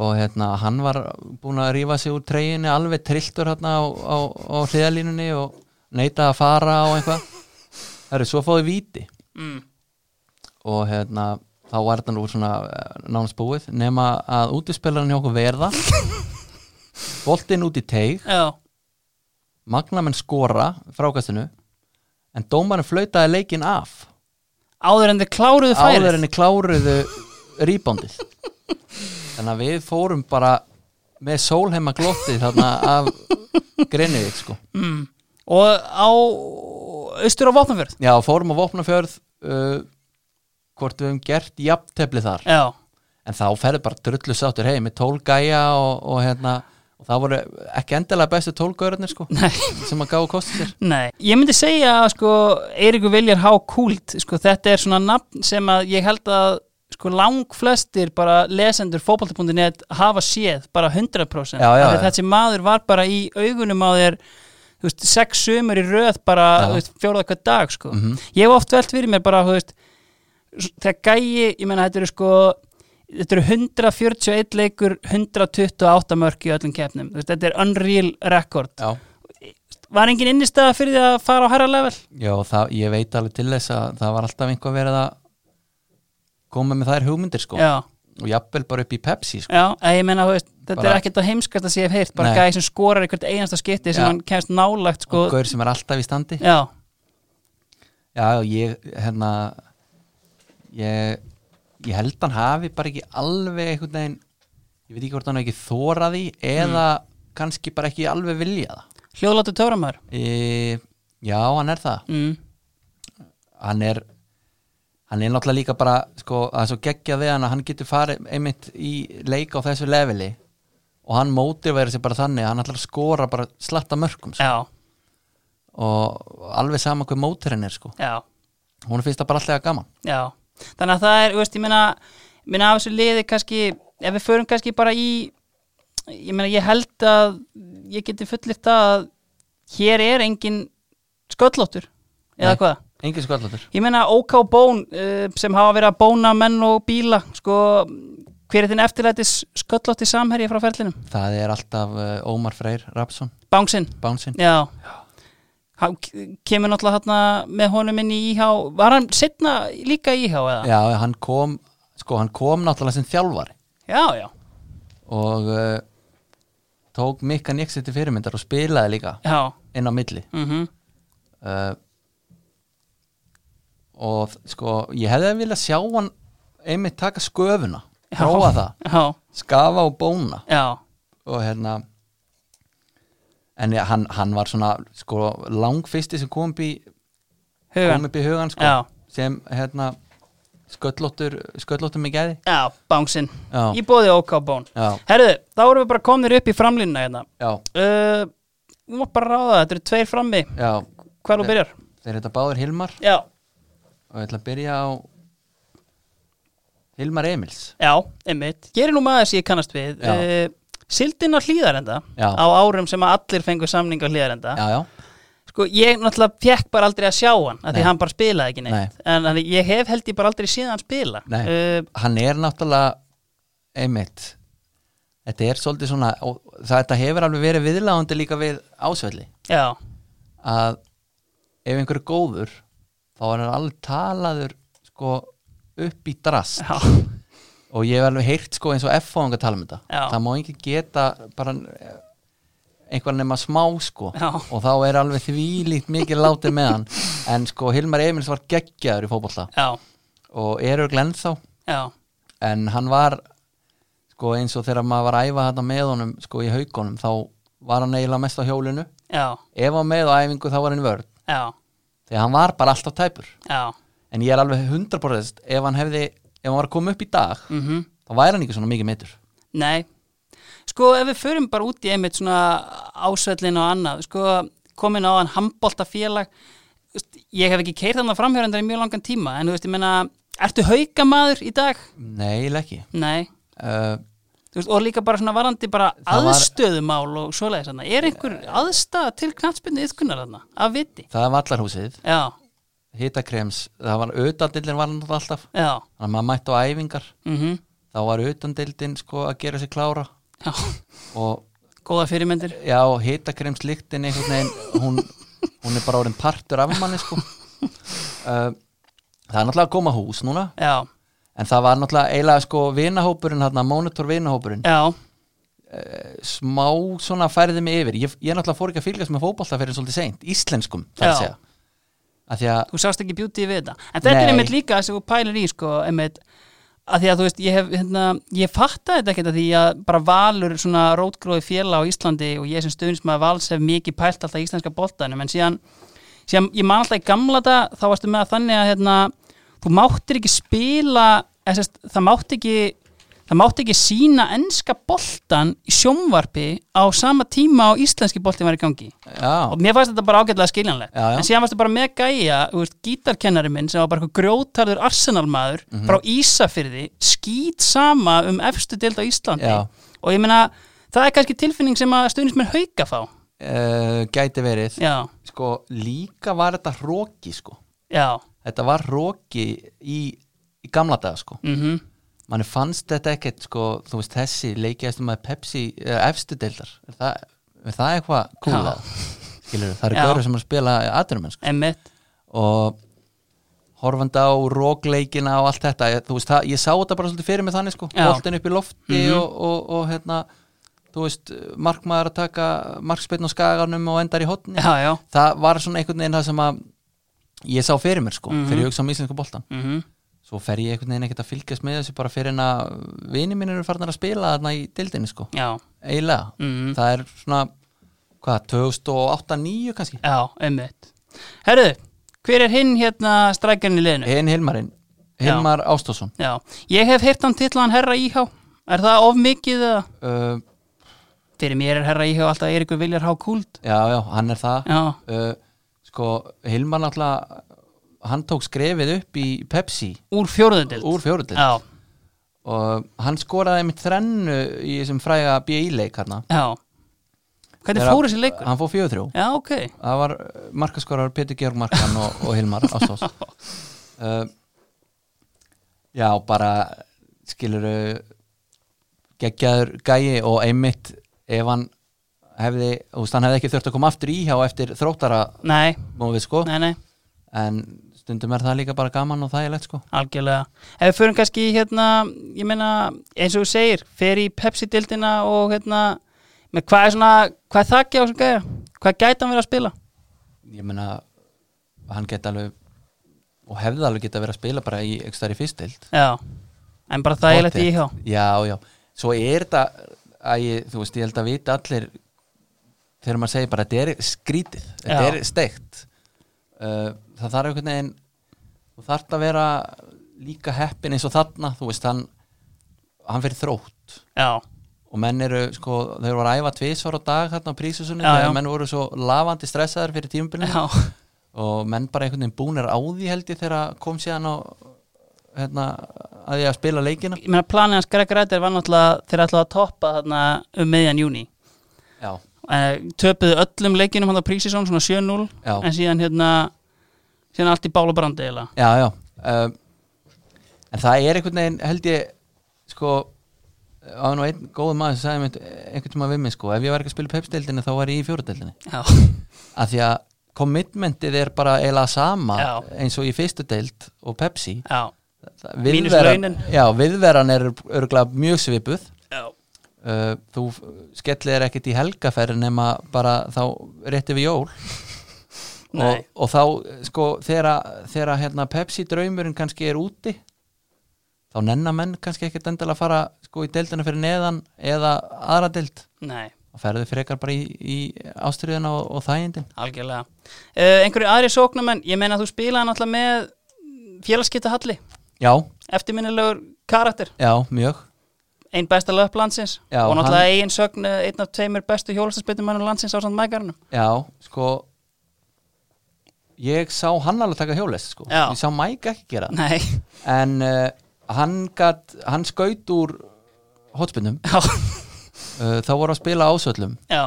og hérna, hann var búin að rífa sig úr treyjunni alveg trilltur hérna á, á, á hliðalínunni og neita að fara og eitthvað það eru svo fóði víti
mm,
og hérna, þá var þetta nú svona eh, nánast búið, nema að útispilarinn hjá okkur verða boltinn út í teig
já,
magnamenn skora frákastinu en dómarinn flautaði leikinn af
áður en þið kláruðu færið.
áður henni kláruðu rýbóndið þannig að við fórum bara með sólheima glottið þarna af Grenivík sko
mm. og á austur á Vopnafjörð
já, fórum á Vopnafjörð uh, hvort við höfum gert jafntefli þar
já,
en þá ferði bara drullu sáttur heim með tólgæja og, og hérna og það voru ekki endilega bestu tólgörðnir sko
Nei.
sem að gáðu kosti sér
Nei, ég myndi segja að sko Eiríku Viljar H. Kult sko, þetta er svona nafn sem að ég held að sko langflestir bara lesendur fótbolta.net hafa séð bara 100%
Já, já,
Af því að
já.
þessi maður var bara í augunum á þér þú veist, sex sömur í röð bara
Já. Mhm.
þú veist, fjóraða hvað dag sko ég hef oft velt fyrir mér bara þú veist, s- þegar gæi, ég meina þetta eru sko þetta eru 141 leikur 128 mörk í öllum keppnum Þú veist, þetta er unreal record
Já,
var engin innistæða fyrir því að fara á herra level
já það, ég veit alveg til þess að það var alltaf einhver verið að koma með þær hugmyndir sko
já,
og jafnvel bara upp í Pepsi sko
já, eða ég meina þú veist, þetta
Bara-
er ekkert að heimskast að sé hef heyrt, bara
Nei.
gæði sem skorar í hvert einasta skipti sem
Já.
hann kemst nálægt sko,
og gaur sem er alltaf í standi
já,
Já, ég, hérna ég, ég held hann hafi bara ekki alveg einhvern veginn ég veit ekki hvort hann hafi ekki þóraði eða kannski bara ekki alveg vilja það
hljóðlátu töframar
e, Já, hann er það
mm.
hann er hann er náttúrulega líka bara sko, að svo geggja við hann að hann getur farið einmitt í leik á þessu leveli og hann mótiverið sér bara þannig að hann ætlar að skora bara slatta mörgum sko.
já,
og alveg sama hver mótirinn er sko.
já
hún finnst það bara alltaf gaman
Já, þannig að það er, þú veist, ég meina, ég meina af þessu liði kannski, ef við förum kannski bara í, ég meina, ég held að ég geti fullirt það að hér er engin sköllóttur, eða
Nei.
hvað?
Engin skvallatur
Ég meina OK Bón uh, sem hafa verið að bóna menn og bíla, sko, hver er þinn eftirlætis sköllótti samherji frá ferlinum?
Það er alltaf uh, Ómar Freyr Rapsson,
Bánsinn,
bánsinn
já. Hann kemur náttúrulega hérna með honum inn í íhá, var hann setna líka í íhá eða?
Já, hann kom, sko, hann kom náttúrulega sem þjálfari
Já, já,
og uh, tók mikka nýksið til fyrirmyndar og spilaði líka
já,
inn á milli
mhm.
uh, og sko, ég hefði viljað sjá hann einmitt taka sköfuna
Já.
prófa það,
já,
skafa og bóna
já,
og hérna en ég, hann, hann var svona sko, langfyrsti sem kom upp í kom
hugan
upp í hugan sko,
Já.
sem hérna sköllóttur, sköllóttur með gæði
já, bánsinn,
Já.
í bóði OK Bón
Já,
herðu, þá erum við bara komnir upp í framlínuna hérna
já,
uh, við mátt bara ráða, þetta eru tveir frammi
já
hvar þú byrjar,
Þeir þetta báður Hilmar
já,
og ég ætla að byrja á Hilmar Emils
já, einmitt gerir nú maður sem ég kannast við
Já.
uh, sildin á hlýðarenda
Já.
á árum sem að allir fengu samning á hlýðarenda
Já, já,
sko, ég náttúrulega fekk bara aldrei að sjá hann af því
Nei.
hann bara spilaði ekki neitt
Nei.
en hann, ég hef held ég bara aldrei síðan hann spila
Nei.
uh,
hann er náttúrulega Emil Þetta er svolítið svona og þetta hefur alveg verið viðláðandi líka við ásvelli
já,
að ef einhver er góður þá er hann alveg talaður sko upp í drast
já,
og ég hef alveg heyrt sko eins og F-fóðingar tala um þetta
Já.
það má ekki geta bara eh, einhvern nema smá sko
Já.
og þá er alveg þvílíkt mikið látið með hann en sko Hilmar Emils var geggjaður í fótbolta
já,
og erur glennþá
já
en hann var sko eins og þegar maður var að æfa þetta með honum sko í haugunum þá var hann eiginlega mest á hjólinu
já,
ef hann með á æfingu þá var hann í vörð
já,
þegar hann var bara alltaf tæpur
já
en ég er alveg 100% ef hann hefði ef hann var að koma upp í dag
mhm
þá væri hann ekki svona mikið meitur
Nei, sko ef við förum bara út í einmitt svona ásvellin og annað, sko komin á hann handbóltafélag, ég hef ekki keirt þannig framhjörendar í mjög langan tíma, en þú veist, ég menna, ertu haukamaður í dag?
nei, eiginlega ekki
Nei,
uh,
þú veist, og líka bara svona varandi bara
Það var-
aðstöðumál og svoleiðis hann, er einhver aðstæða til knatspinni yðkunar hann, af viti?
það er vallarhúsið,
Já,
hitakrems það var auðandildin var hann alltaf
já,
þannig að maður mætti á æfingar
mhm,
þá var auðandildin sko að gera sig klára
já,
og
góða fyrirmyndir,
já, hitakrems lyktin einhvern veginn hún, hún er bara orðin partur af manni sko uh, það er náttúrulega að koma hús núna
já,
en það var náttúrulega eiginlega sko vinahópurinn hérna, monitor vinahópurinn
já,
smá svona færði mig yfir ég, ég náttúrulega fór ekki að fylgjast með fótballta fyrir svolítið seint, íslenskum þar að
Já.
segja að því að,
þú sást ekki beauty við þetta en þetta er
Nei.
einmitt líka sem þú pælir í sko, einmitt, að því að þú veist ég, hef, hérna, ég fatta þetta ekkert að því að bara valur svona rótgróði félag á Íslandi og ég sem stöðnismæði vals hef mikið pælt alltaf í íslenska boltanum en síðan, síðan ég man alltaf í gamla dag þá varstu með að þannig að hérna, þú máttir ekki spila eða, sérst, það mátti ekki það mátti ekki sína enska boltan í sjónvarpi á sama tíma og íslenski boltin var í gangi
já,
og mér fannst þetta bara ágætlega skiljanlegt
Já, já.
en síðan varstu bara með gæja þú veist, gítarkennari minn sem var bara eitthvað grjótarður arsenalmaður
Mhm.
frá Ísafyrði skýt sama um efstu deild á Íslandi
Já.
og ég meina það er kannski tilfinning sem að stuðnismenn hauka fá
uh, gæti verið
já,
sko, líka var þetta hróki sko.
já,
þetta var hróki í, í gamla daga sko.
mhm
manni fannst þetta ekkert sko, þú veist þessi leikjast um að Pepsi eða efstu deildar er það, er það eitthvað
Já. <laughs>
kúla skilur það eru
Já.
görur sem eru að spila aðdurum sko.
emmitt
og horfandi á rókleikina og allt þetta ég, þú veist, það, ég sá þetta bara svolítið fyrir mig þannig sko,
Já. Mhm.
boltin upp í lofti og, og, og hérna þú veist, markmaður að taka markspinn á skaganum og endar í hotni
já, já,
það var svona einhvern veginn það sem að ég sá fyrir mér sko,
Mhm.
fyrir ég hugsa um íslenska boltan
mhm
svo fer ég einhvern veginn ekkert að fylgjast með þessu bara fyrir en að vini minn eru farnar að spila þarna í dildinni sko,
já,
eiginlega
mhm
það er svona, hvað, 2008-2009 kannski,
já, emmitt herruðu, hver er hinn hérna strækjarinn í liðinu?
en Hilmarinn Hilmar Ástásson
já, ég hef heyrt hann titlaðan herra íhá er það of mikið eða?
uh,
fyrir mér er herra íhá alltaf Eirikur Viljar Há Kúld
já, já, hann er það
já,
uh, sko, Hilmar náttúrulega hann tók skrefið upp í Pepsi
úr fjóruðundild
úr fjóruðið
já,
og hann skoraði einmitt þrennu í þessum fræga BI-leik hann
já hvernig
Þegar-
fór þessi leikur?
hann fór fjóðuþrjú
já, ok,
það var markaskorar Petur Georg Markan og, og Hilmar
<laughs>
Ástós uh, já, bara skiluru geggjaður gæi og einmitt ef hann hefði, þú veist, hann hefði ekki þurft að koma aftur í hjá eftir þróttara
nei,
mófið sko
nei, nei
en stundum er það líka bara gaman og þægilegt sko
algjörlega, ef við förum kannski í, hérna, ég meina, eins og þú segir fer í Pepsi-dildina og hérna með hvað er svona, hvað er þakki á þessum gæja? hvað gæti hann verið að spila?
ég meina, hann geti alveg og hefði alveg geta verið að spila bara í ekki stær í fyrstild
já, en bara þægilegt í hjá
já, já, svo er þetta að ég, þú veist, ég held að vita allir þegar maður segir bara þetta er skrítið, þetta
Já.
er steikt uh, það þarf einhvern veginn þú þarft að vera líka heppin eins og þarna, þú veist, hann hann fyrir þrótt
já,
og menn eru, sko, þeir voru að æfa tvisvar á dag hérna á prísusunni,
Já, já.
þegar menn voru svo lafandi stressaðar fyrir tímubilinu
já,
og menn bara einhvern veginn búnir á því held ég þegar kom síðan á hérna, að ég að spila leikina
ég meina planið hans Greg Rættir var náttúrulega þeir ætlaðu að toppa þarna um meðjan júni
já,
Eh, töpuðu öllum leikinum hann á prísisón svona 7-0
Já.
en síðan hérna síðan allt í bála brandi eiginlega
já, já um, en það er einhvern veginn held ég sko á nú einn góð maður sem sagði mér einhvern tíma við mig sko, ef ég var ekki að spila pepsdeildinni þá var ég í fjóruðdeildinni
já,
af því að commitmentið er bara eiginlega sama
Já.
eins og í fyrstu deild og pepsi
já,
Það-
Mínus
viðveran-
launin.
já, viðveran er örgulega mjög svipuð
já,
uh, þú f- skellir þér ekkert í helgaferð nema bara þá rétti við jól
Nei.
og, og þá sko þegar að- þegar að, hérna, Pepsi draumurinn kannski er úti þá nennar menn kannski ekkert endilega að fara sko í deildina fyrir neðan eða aðra deild
nei
þá ferðu frekar bara í, í ástriðina og, og þægindin
algjörlega uh, einhverju aðri sóknumenn, ég meina að þú spilaði náttúrulega með félagskipta Halli
já,
eftirminnilegur karakter,
já, mjög
einn besta löp landsins
Já,
og náttúrulega hann... eigin sögn eh, einn af tveimur bestu hjólastarspytumannum landsins á samt mækarnum
já, sko ég sá hann alveg taka hjólest sko,
Já.
ég sá Mike ekki gera það
nei,
en uh, hann gat, hann skaut úr hotspinnum
<laughs> já,
uh, þá voru að spila ásöllum
já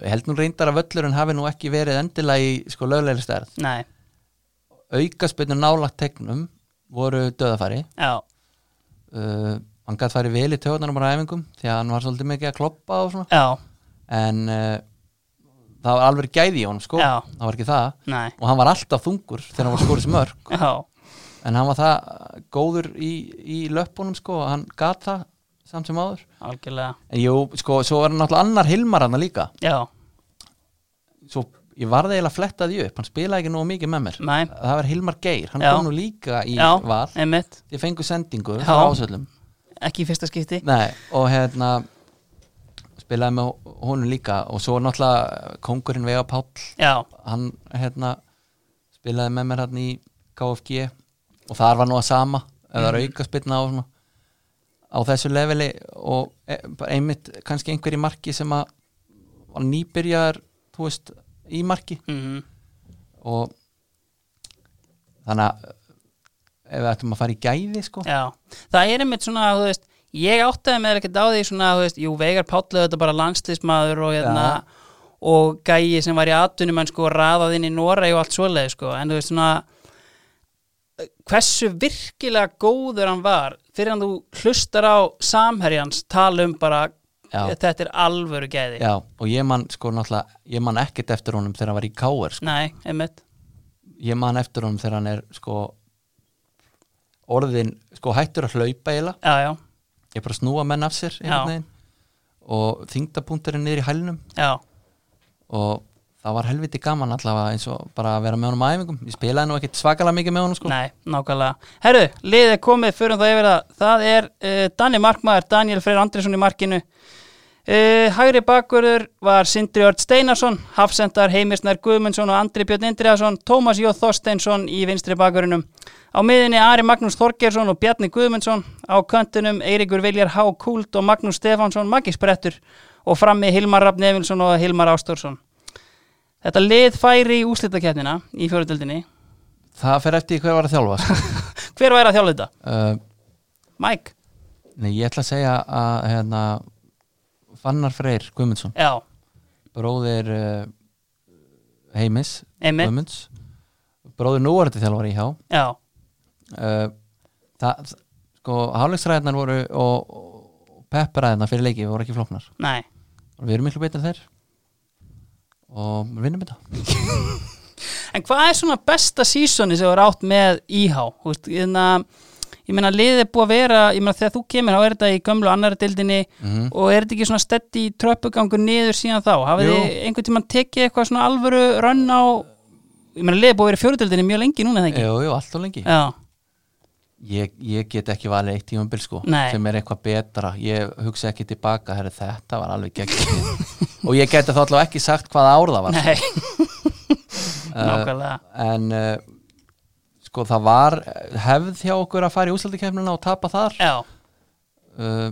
ég held nú reyndar að völlurinn hafi nú ekki verið endilega í sko löglegri stærð
nei,
aukaspinnu nálagt tegnum voru döðafæri
já,
uh, hann gat farið vel í töðunum á æfingum því að hann var svolítið mikið að kloppa og svona
já,
en uh, það var alveg gæði í honum sko
Já.
það var ekki það
nei
og hann var alltaf þungur þegar hann var skorið smörk
já,
en hann var það góður í, í löppunum sko hann gat það samt sem áður
algjörlega
En jú, sko, svo er hann náttúrulega annar Hilmar hann líka
já,
Svo ég varði eiginlega að fletta því upp Hann spilaði ekki nógu mikið með mér
Nei.
Það var Hilmar Geir, hann
Já.
kom nú líka í
já,
val
einmitt
Ég fengu sendingu
Já.
frá ásöllum
ekki í fyrsta skipti
Nei, og hérna Spilaði með honum líka Og svo náttúrulega kongurinn Vega Páll
já,
Hann hérna Spilaði með mér hérna hann í KFG Og þar var nú að sama Eða mm. auka spilna á svona á þessu leveli og e- bara einmitt kannski einhver í marki sem að var nýbyrjar þú veist, í marki
Mhm.
og þannig að ef við ættum að fara í gæði sko
Já, það er einmitt svona, þú veist, ég áttaði með ekkert á því svona, þú veist, jú, Veigar Pállið þetta bara landslismadur og hérna og gæi sem var í atvinnum en sko raðað inn í Noreg og allt svoleið sko, en þú veist svona hversu virkilega góður hann var fyrir hann þú hlustar á samherjans tala um bara
Já.
þetta er alvöru gæði
Já, og ég man sko náttúrulega, ég man ekkert eftir honum þegar hann var í Káer sko.
Nei, einmitt
ég man eftir honum þegar hann er sko orðin, sko hættur að hlaupa eiginlega
Já, já,
ég bara snúa menn af sér einhvern veginn. og þingdapunkturinn niður í hælnum
já,
og það var helviti gaman allavega eins og bara að vera með honum á æfingum ég spilaði nú ekkit svakalega mikið með honum sko
nei, nákvæmlega Herru, liðið er komið, förum það yfir það Það er uh, Danni Markmaður, Daniel Freyr Andriðsson í markinu uh, Hægri bakvörður var Sindri Örd Steinarsson Hafsendar Heimisnær Guðmundsson og Andri Björn Indriðarsson Tómas Jó Þorsteinsson í vinstri bakvörðunum Á miðinni Ari Magnús Þorgersson og Bjarni Guðmundsson Á köntunum Eiríkur Viljar H. Kúld og Magnús Stefánsson Magisbrettur og frammi Hilmar Rapp Nefilsson og Hilmar Ástórsson Þetta lið færi í úslitakeppnina í fjóruðöldinni
það fer eftir því hver var að þjálfa sko.
<laughs> Hver væri að þjálfa þetta?
uh,
Mike?
nei, ég ætla að segja að hérna, Fannar Freyr Guðmundsson
Já,
bróðir uh, Heimis
einmitt
Guðmunds bróðir núvarandi þjálfari í hjá
Já,
uh, það, sko, hálfleiksræðnar voru og, og pepparæðnar fyrir leiki voru ekki flóknar
nei
og við erum miklu betur en þeir og við vinnum þetta
En hvað er svona besta sísoni sem þú er átt með IH? Þú veist, Þannig að ég meina liðið er búið að vera, ég meina þegar þú kemur þá er þetta í gömlu annara dildinni
Mhm.
og er þetta ekki svona steddi í tröppugangur niður síðan þá? Hafið
Jú.
þið einhvern tímann tekið eitthvað svona alvöru rönn á ég meina liðið er búið að vera í fjórudildinni mjög lengi núna er það ekki?
jú, jú, allt og lengi
Já,
ég, ég get ekki valið eitt tímambil sko
Nei.
sem er eitthvað betra, ég hugsa ekki tilbaka herri, þetta var alveg gegn <laughs> og ég geti þá allavega ekki sagt hvað ár það var
nei <laughs> Nákvæmlega,
en uh, sko það var hefð hjá okkur að fara í úslandikefnina og tapa þar
já
uh,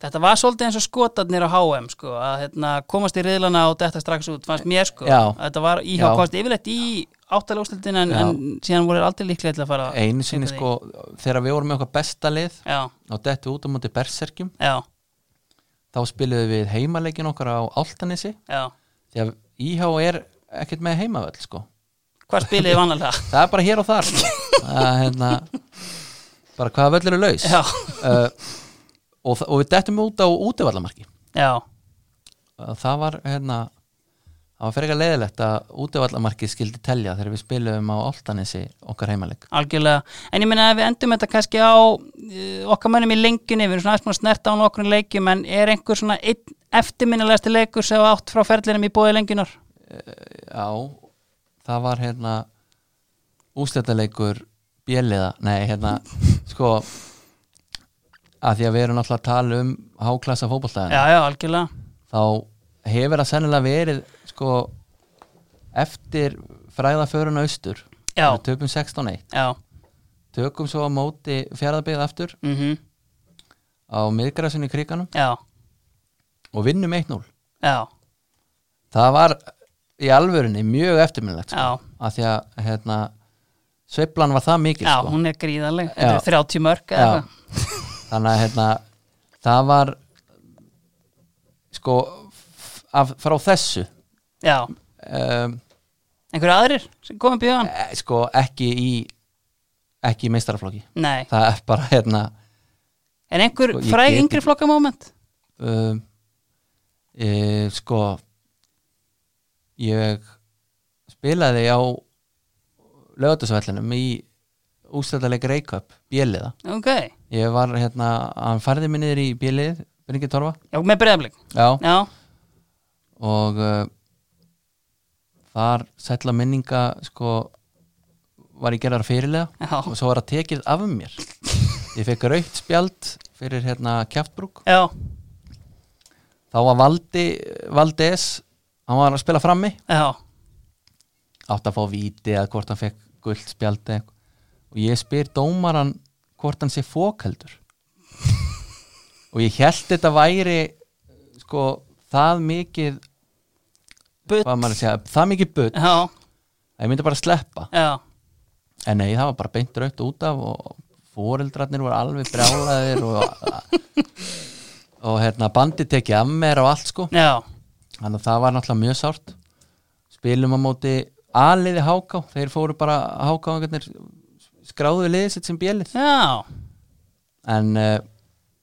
Þetta var svolítið eins og skotarnir á HM sko, að hérna, komast í riðlana og detta strax út, fannst mér sko
Já.
þetta var IH
Já.
komast yfirleitt í áttalega úrslitin en,
Já.
en síðan voru þeir aldrei líklega til að fara
einu sinni
Þetta er
sko þegar við vorum með okkar besta lið
Já,
og dettu út á móti berserkjum
já,
þá spiluðum við heimaleikin okkar á Altanesi
já
því að IH er ekkert með heimavöll sko
Hvað spiliði
<laughs>
vannalega?
það er bara hér og þar að, hérna, bara hvaða völl eru laus
Já,
uh, og, þa- og við dettum út á útivallamarki
já,
Uh, það var hérna það var fyrir leiðilegt að útivallamarki skildi telja þegar við spiluðum á Altanesi okkar heimaleik
algjörlega En ég meina að við endum þetta kannski á uh, okkar mönnum í lengjunni, við erum svona aðeins búin að snerta á nokkrum leikjum, en er einhver svona einn eftirminnilegasti leikur sem þú átt frá ferlinum í bóði lengjunar?
já, það var hérna úsletalegur bjelliða, nei hérna sko að því að við erum alltaf að tala um háklassa fótbolltæðin
Já, já, algjörlega
þá hefur það sennilega verið sko eftir fræðaföruna austur
Já.
Við töpum 16-1
Já,
tökum svo á móti fjaraðbyggð aftur
mhm,
á miðgræsinn í kriganum
já,
og vinnum 1-0
já
það var í alvörunni mjög eftirminnlegt
Já.
sko. að því að hérna, sveiflan var það mikil
Já,
sko.
hún er gríðarleg,
Já.
þetta er 30 mörg eða
Já.
eitthvað.
þannig að hérna, það var sko f- af, frá þessu
Já,
um,
einhverju aðrir sem komum bjóðan?
e, sko ekki í ekki í meistaraflokki
Nei,
það er bara hérna
en einhver
Sko, ég
fræg
get-
yngri flokkamóment?
um, e, sko ég spilaði á lögatusvellinum í ústæðarleik Reykjöp, bjeliða
Ok,
ég var hérna, hann færði mig niður í bjelið Bryngi Torfa
já, með breyðablik
Já.
Já,
og uh, þar sætla minninga sko var ég gerðar fyrirlega
Já.
og svo var það tekið af mér ég fekk raukt spjald fyrir hérna kjaftbrúk
já,
þá var Valdi, Valdes hann var að spila frammi
já,
átt að fá víti eða hvort hann fekk gullt spjald eða eitthvað og ég spyr dómaran hvort hann sé fókaldur og ég held þetta væri sko það mikið
Bull.
hvað maður að segja, það mikið butt
Já,
að ég myndi bara sleppa
já,
en nei, það var bara beint raukt út af og fóreldrarnir voru alveg brjálaðir og, og hérna bandi tekið af mér og allt sko
já
þannig að það var náttúrulega mjög sárt spilum á móti A-liði háká þeir fóru bara háká skráðu liðið sitt sem bjölið
Já,
en uh,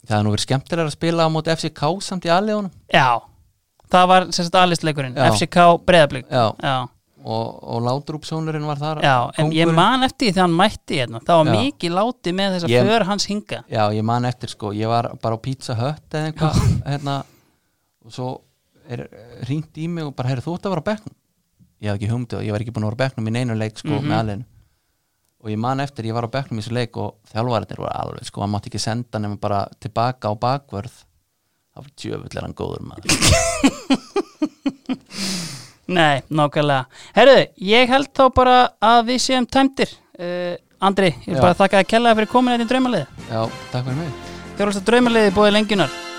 það er nú verið skemmtilega að spila á móti FCK samt í A-liðunum
já Það var sem sagt alistleikurinn,
Já.
FCK breðablík
Já,
Já,
og, og látrúpsónurinn var þar
já, en ég
Kóngurinn.
man eftir því þegar hann mætti hérna Það var
Já.
mikið láti með þess að
Ég-
för hans hinga
Já, ég man eftir sko, ég var bara á Pizza Hut eða eitthvað <laughs> hérna, og svo er eh, hringt í mig og bara, heyrðu, þú ert að vera á bekknum ég hafði ekki humdið og ég var ekki búin að vera á bekknum í neinu leik sko, með alveginu og ég man eftir, ég var á bekknum í þessu leik og þjálfarinnir voru alveg, sko, hann mátti ekki senda nema bara tilbaka á bakvörð það var djöfull er hann góður maður
Nei, nákvæmlega. Herðu, ég held þá bara að við séum tæmdir. Uh, Andri, ég vil
Já.
bara þakka að kella fyrir komin eitt í draumaliði.
Já, takk fyrir mig
Þjórnast að draumaliði búið lengjunar.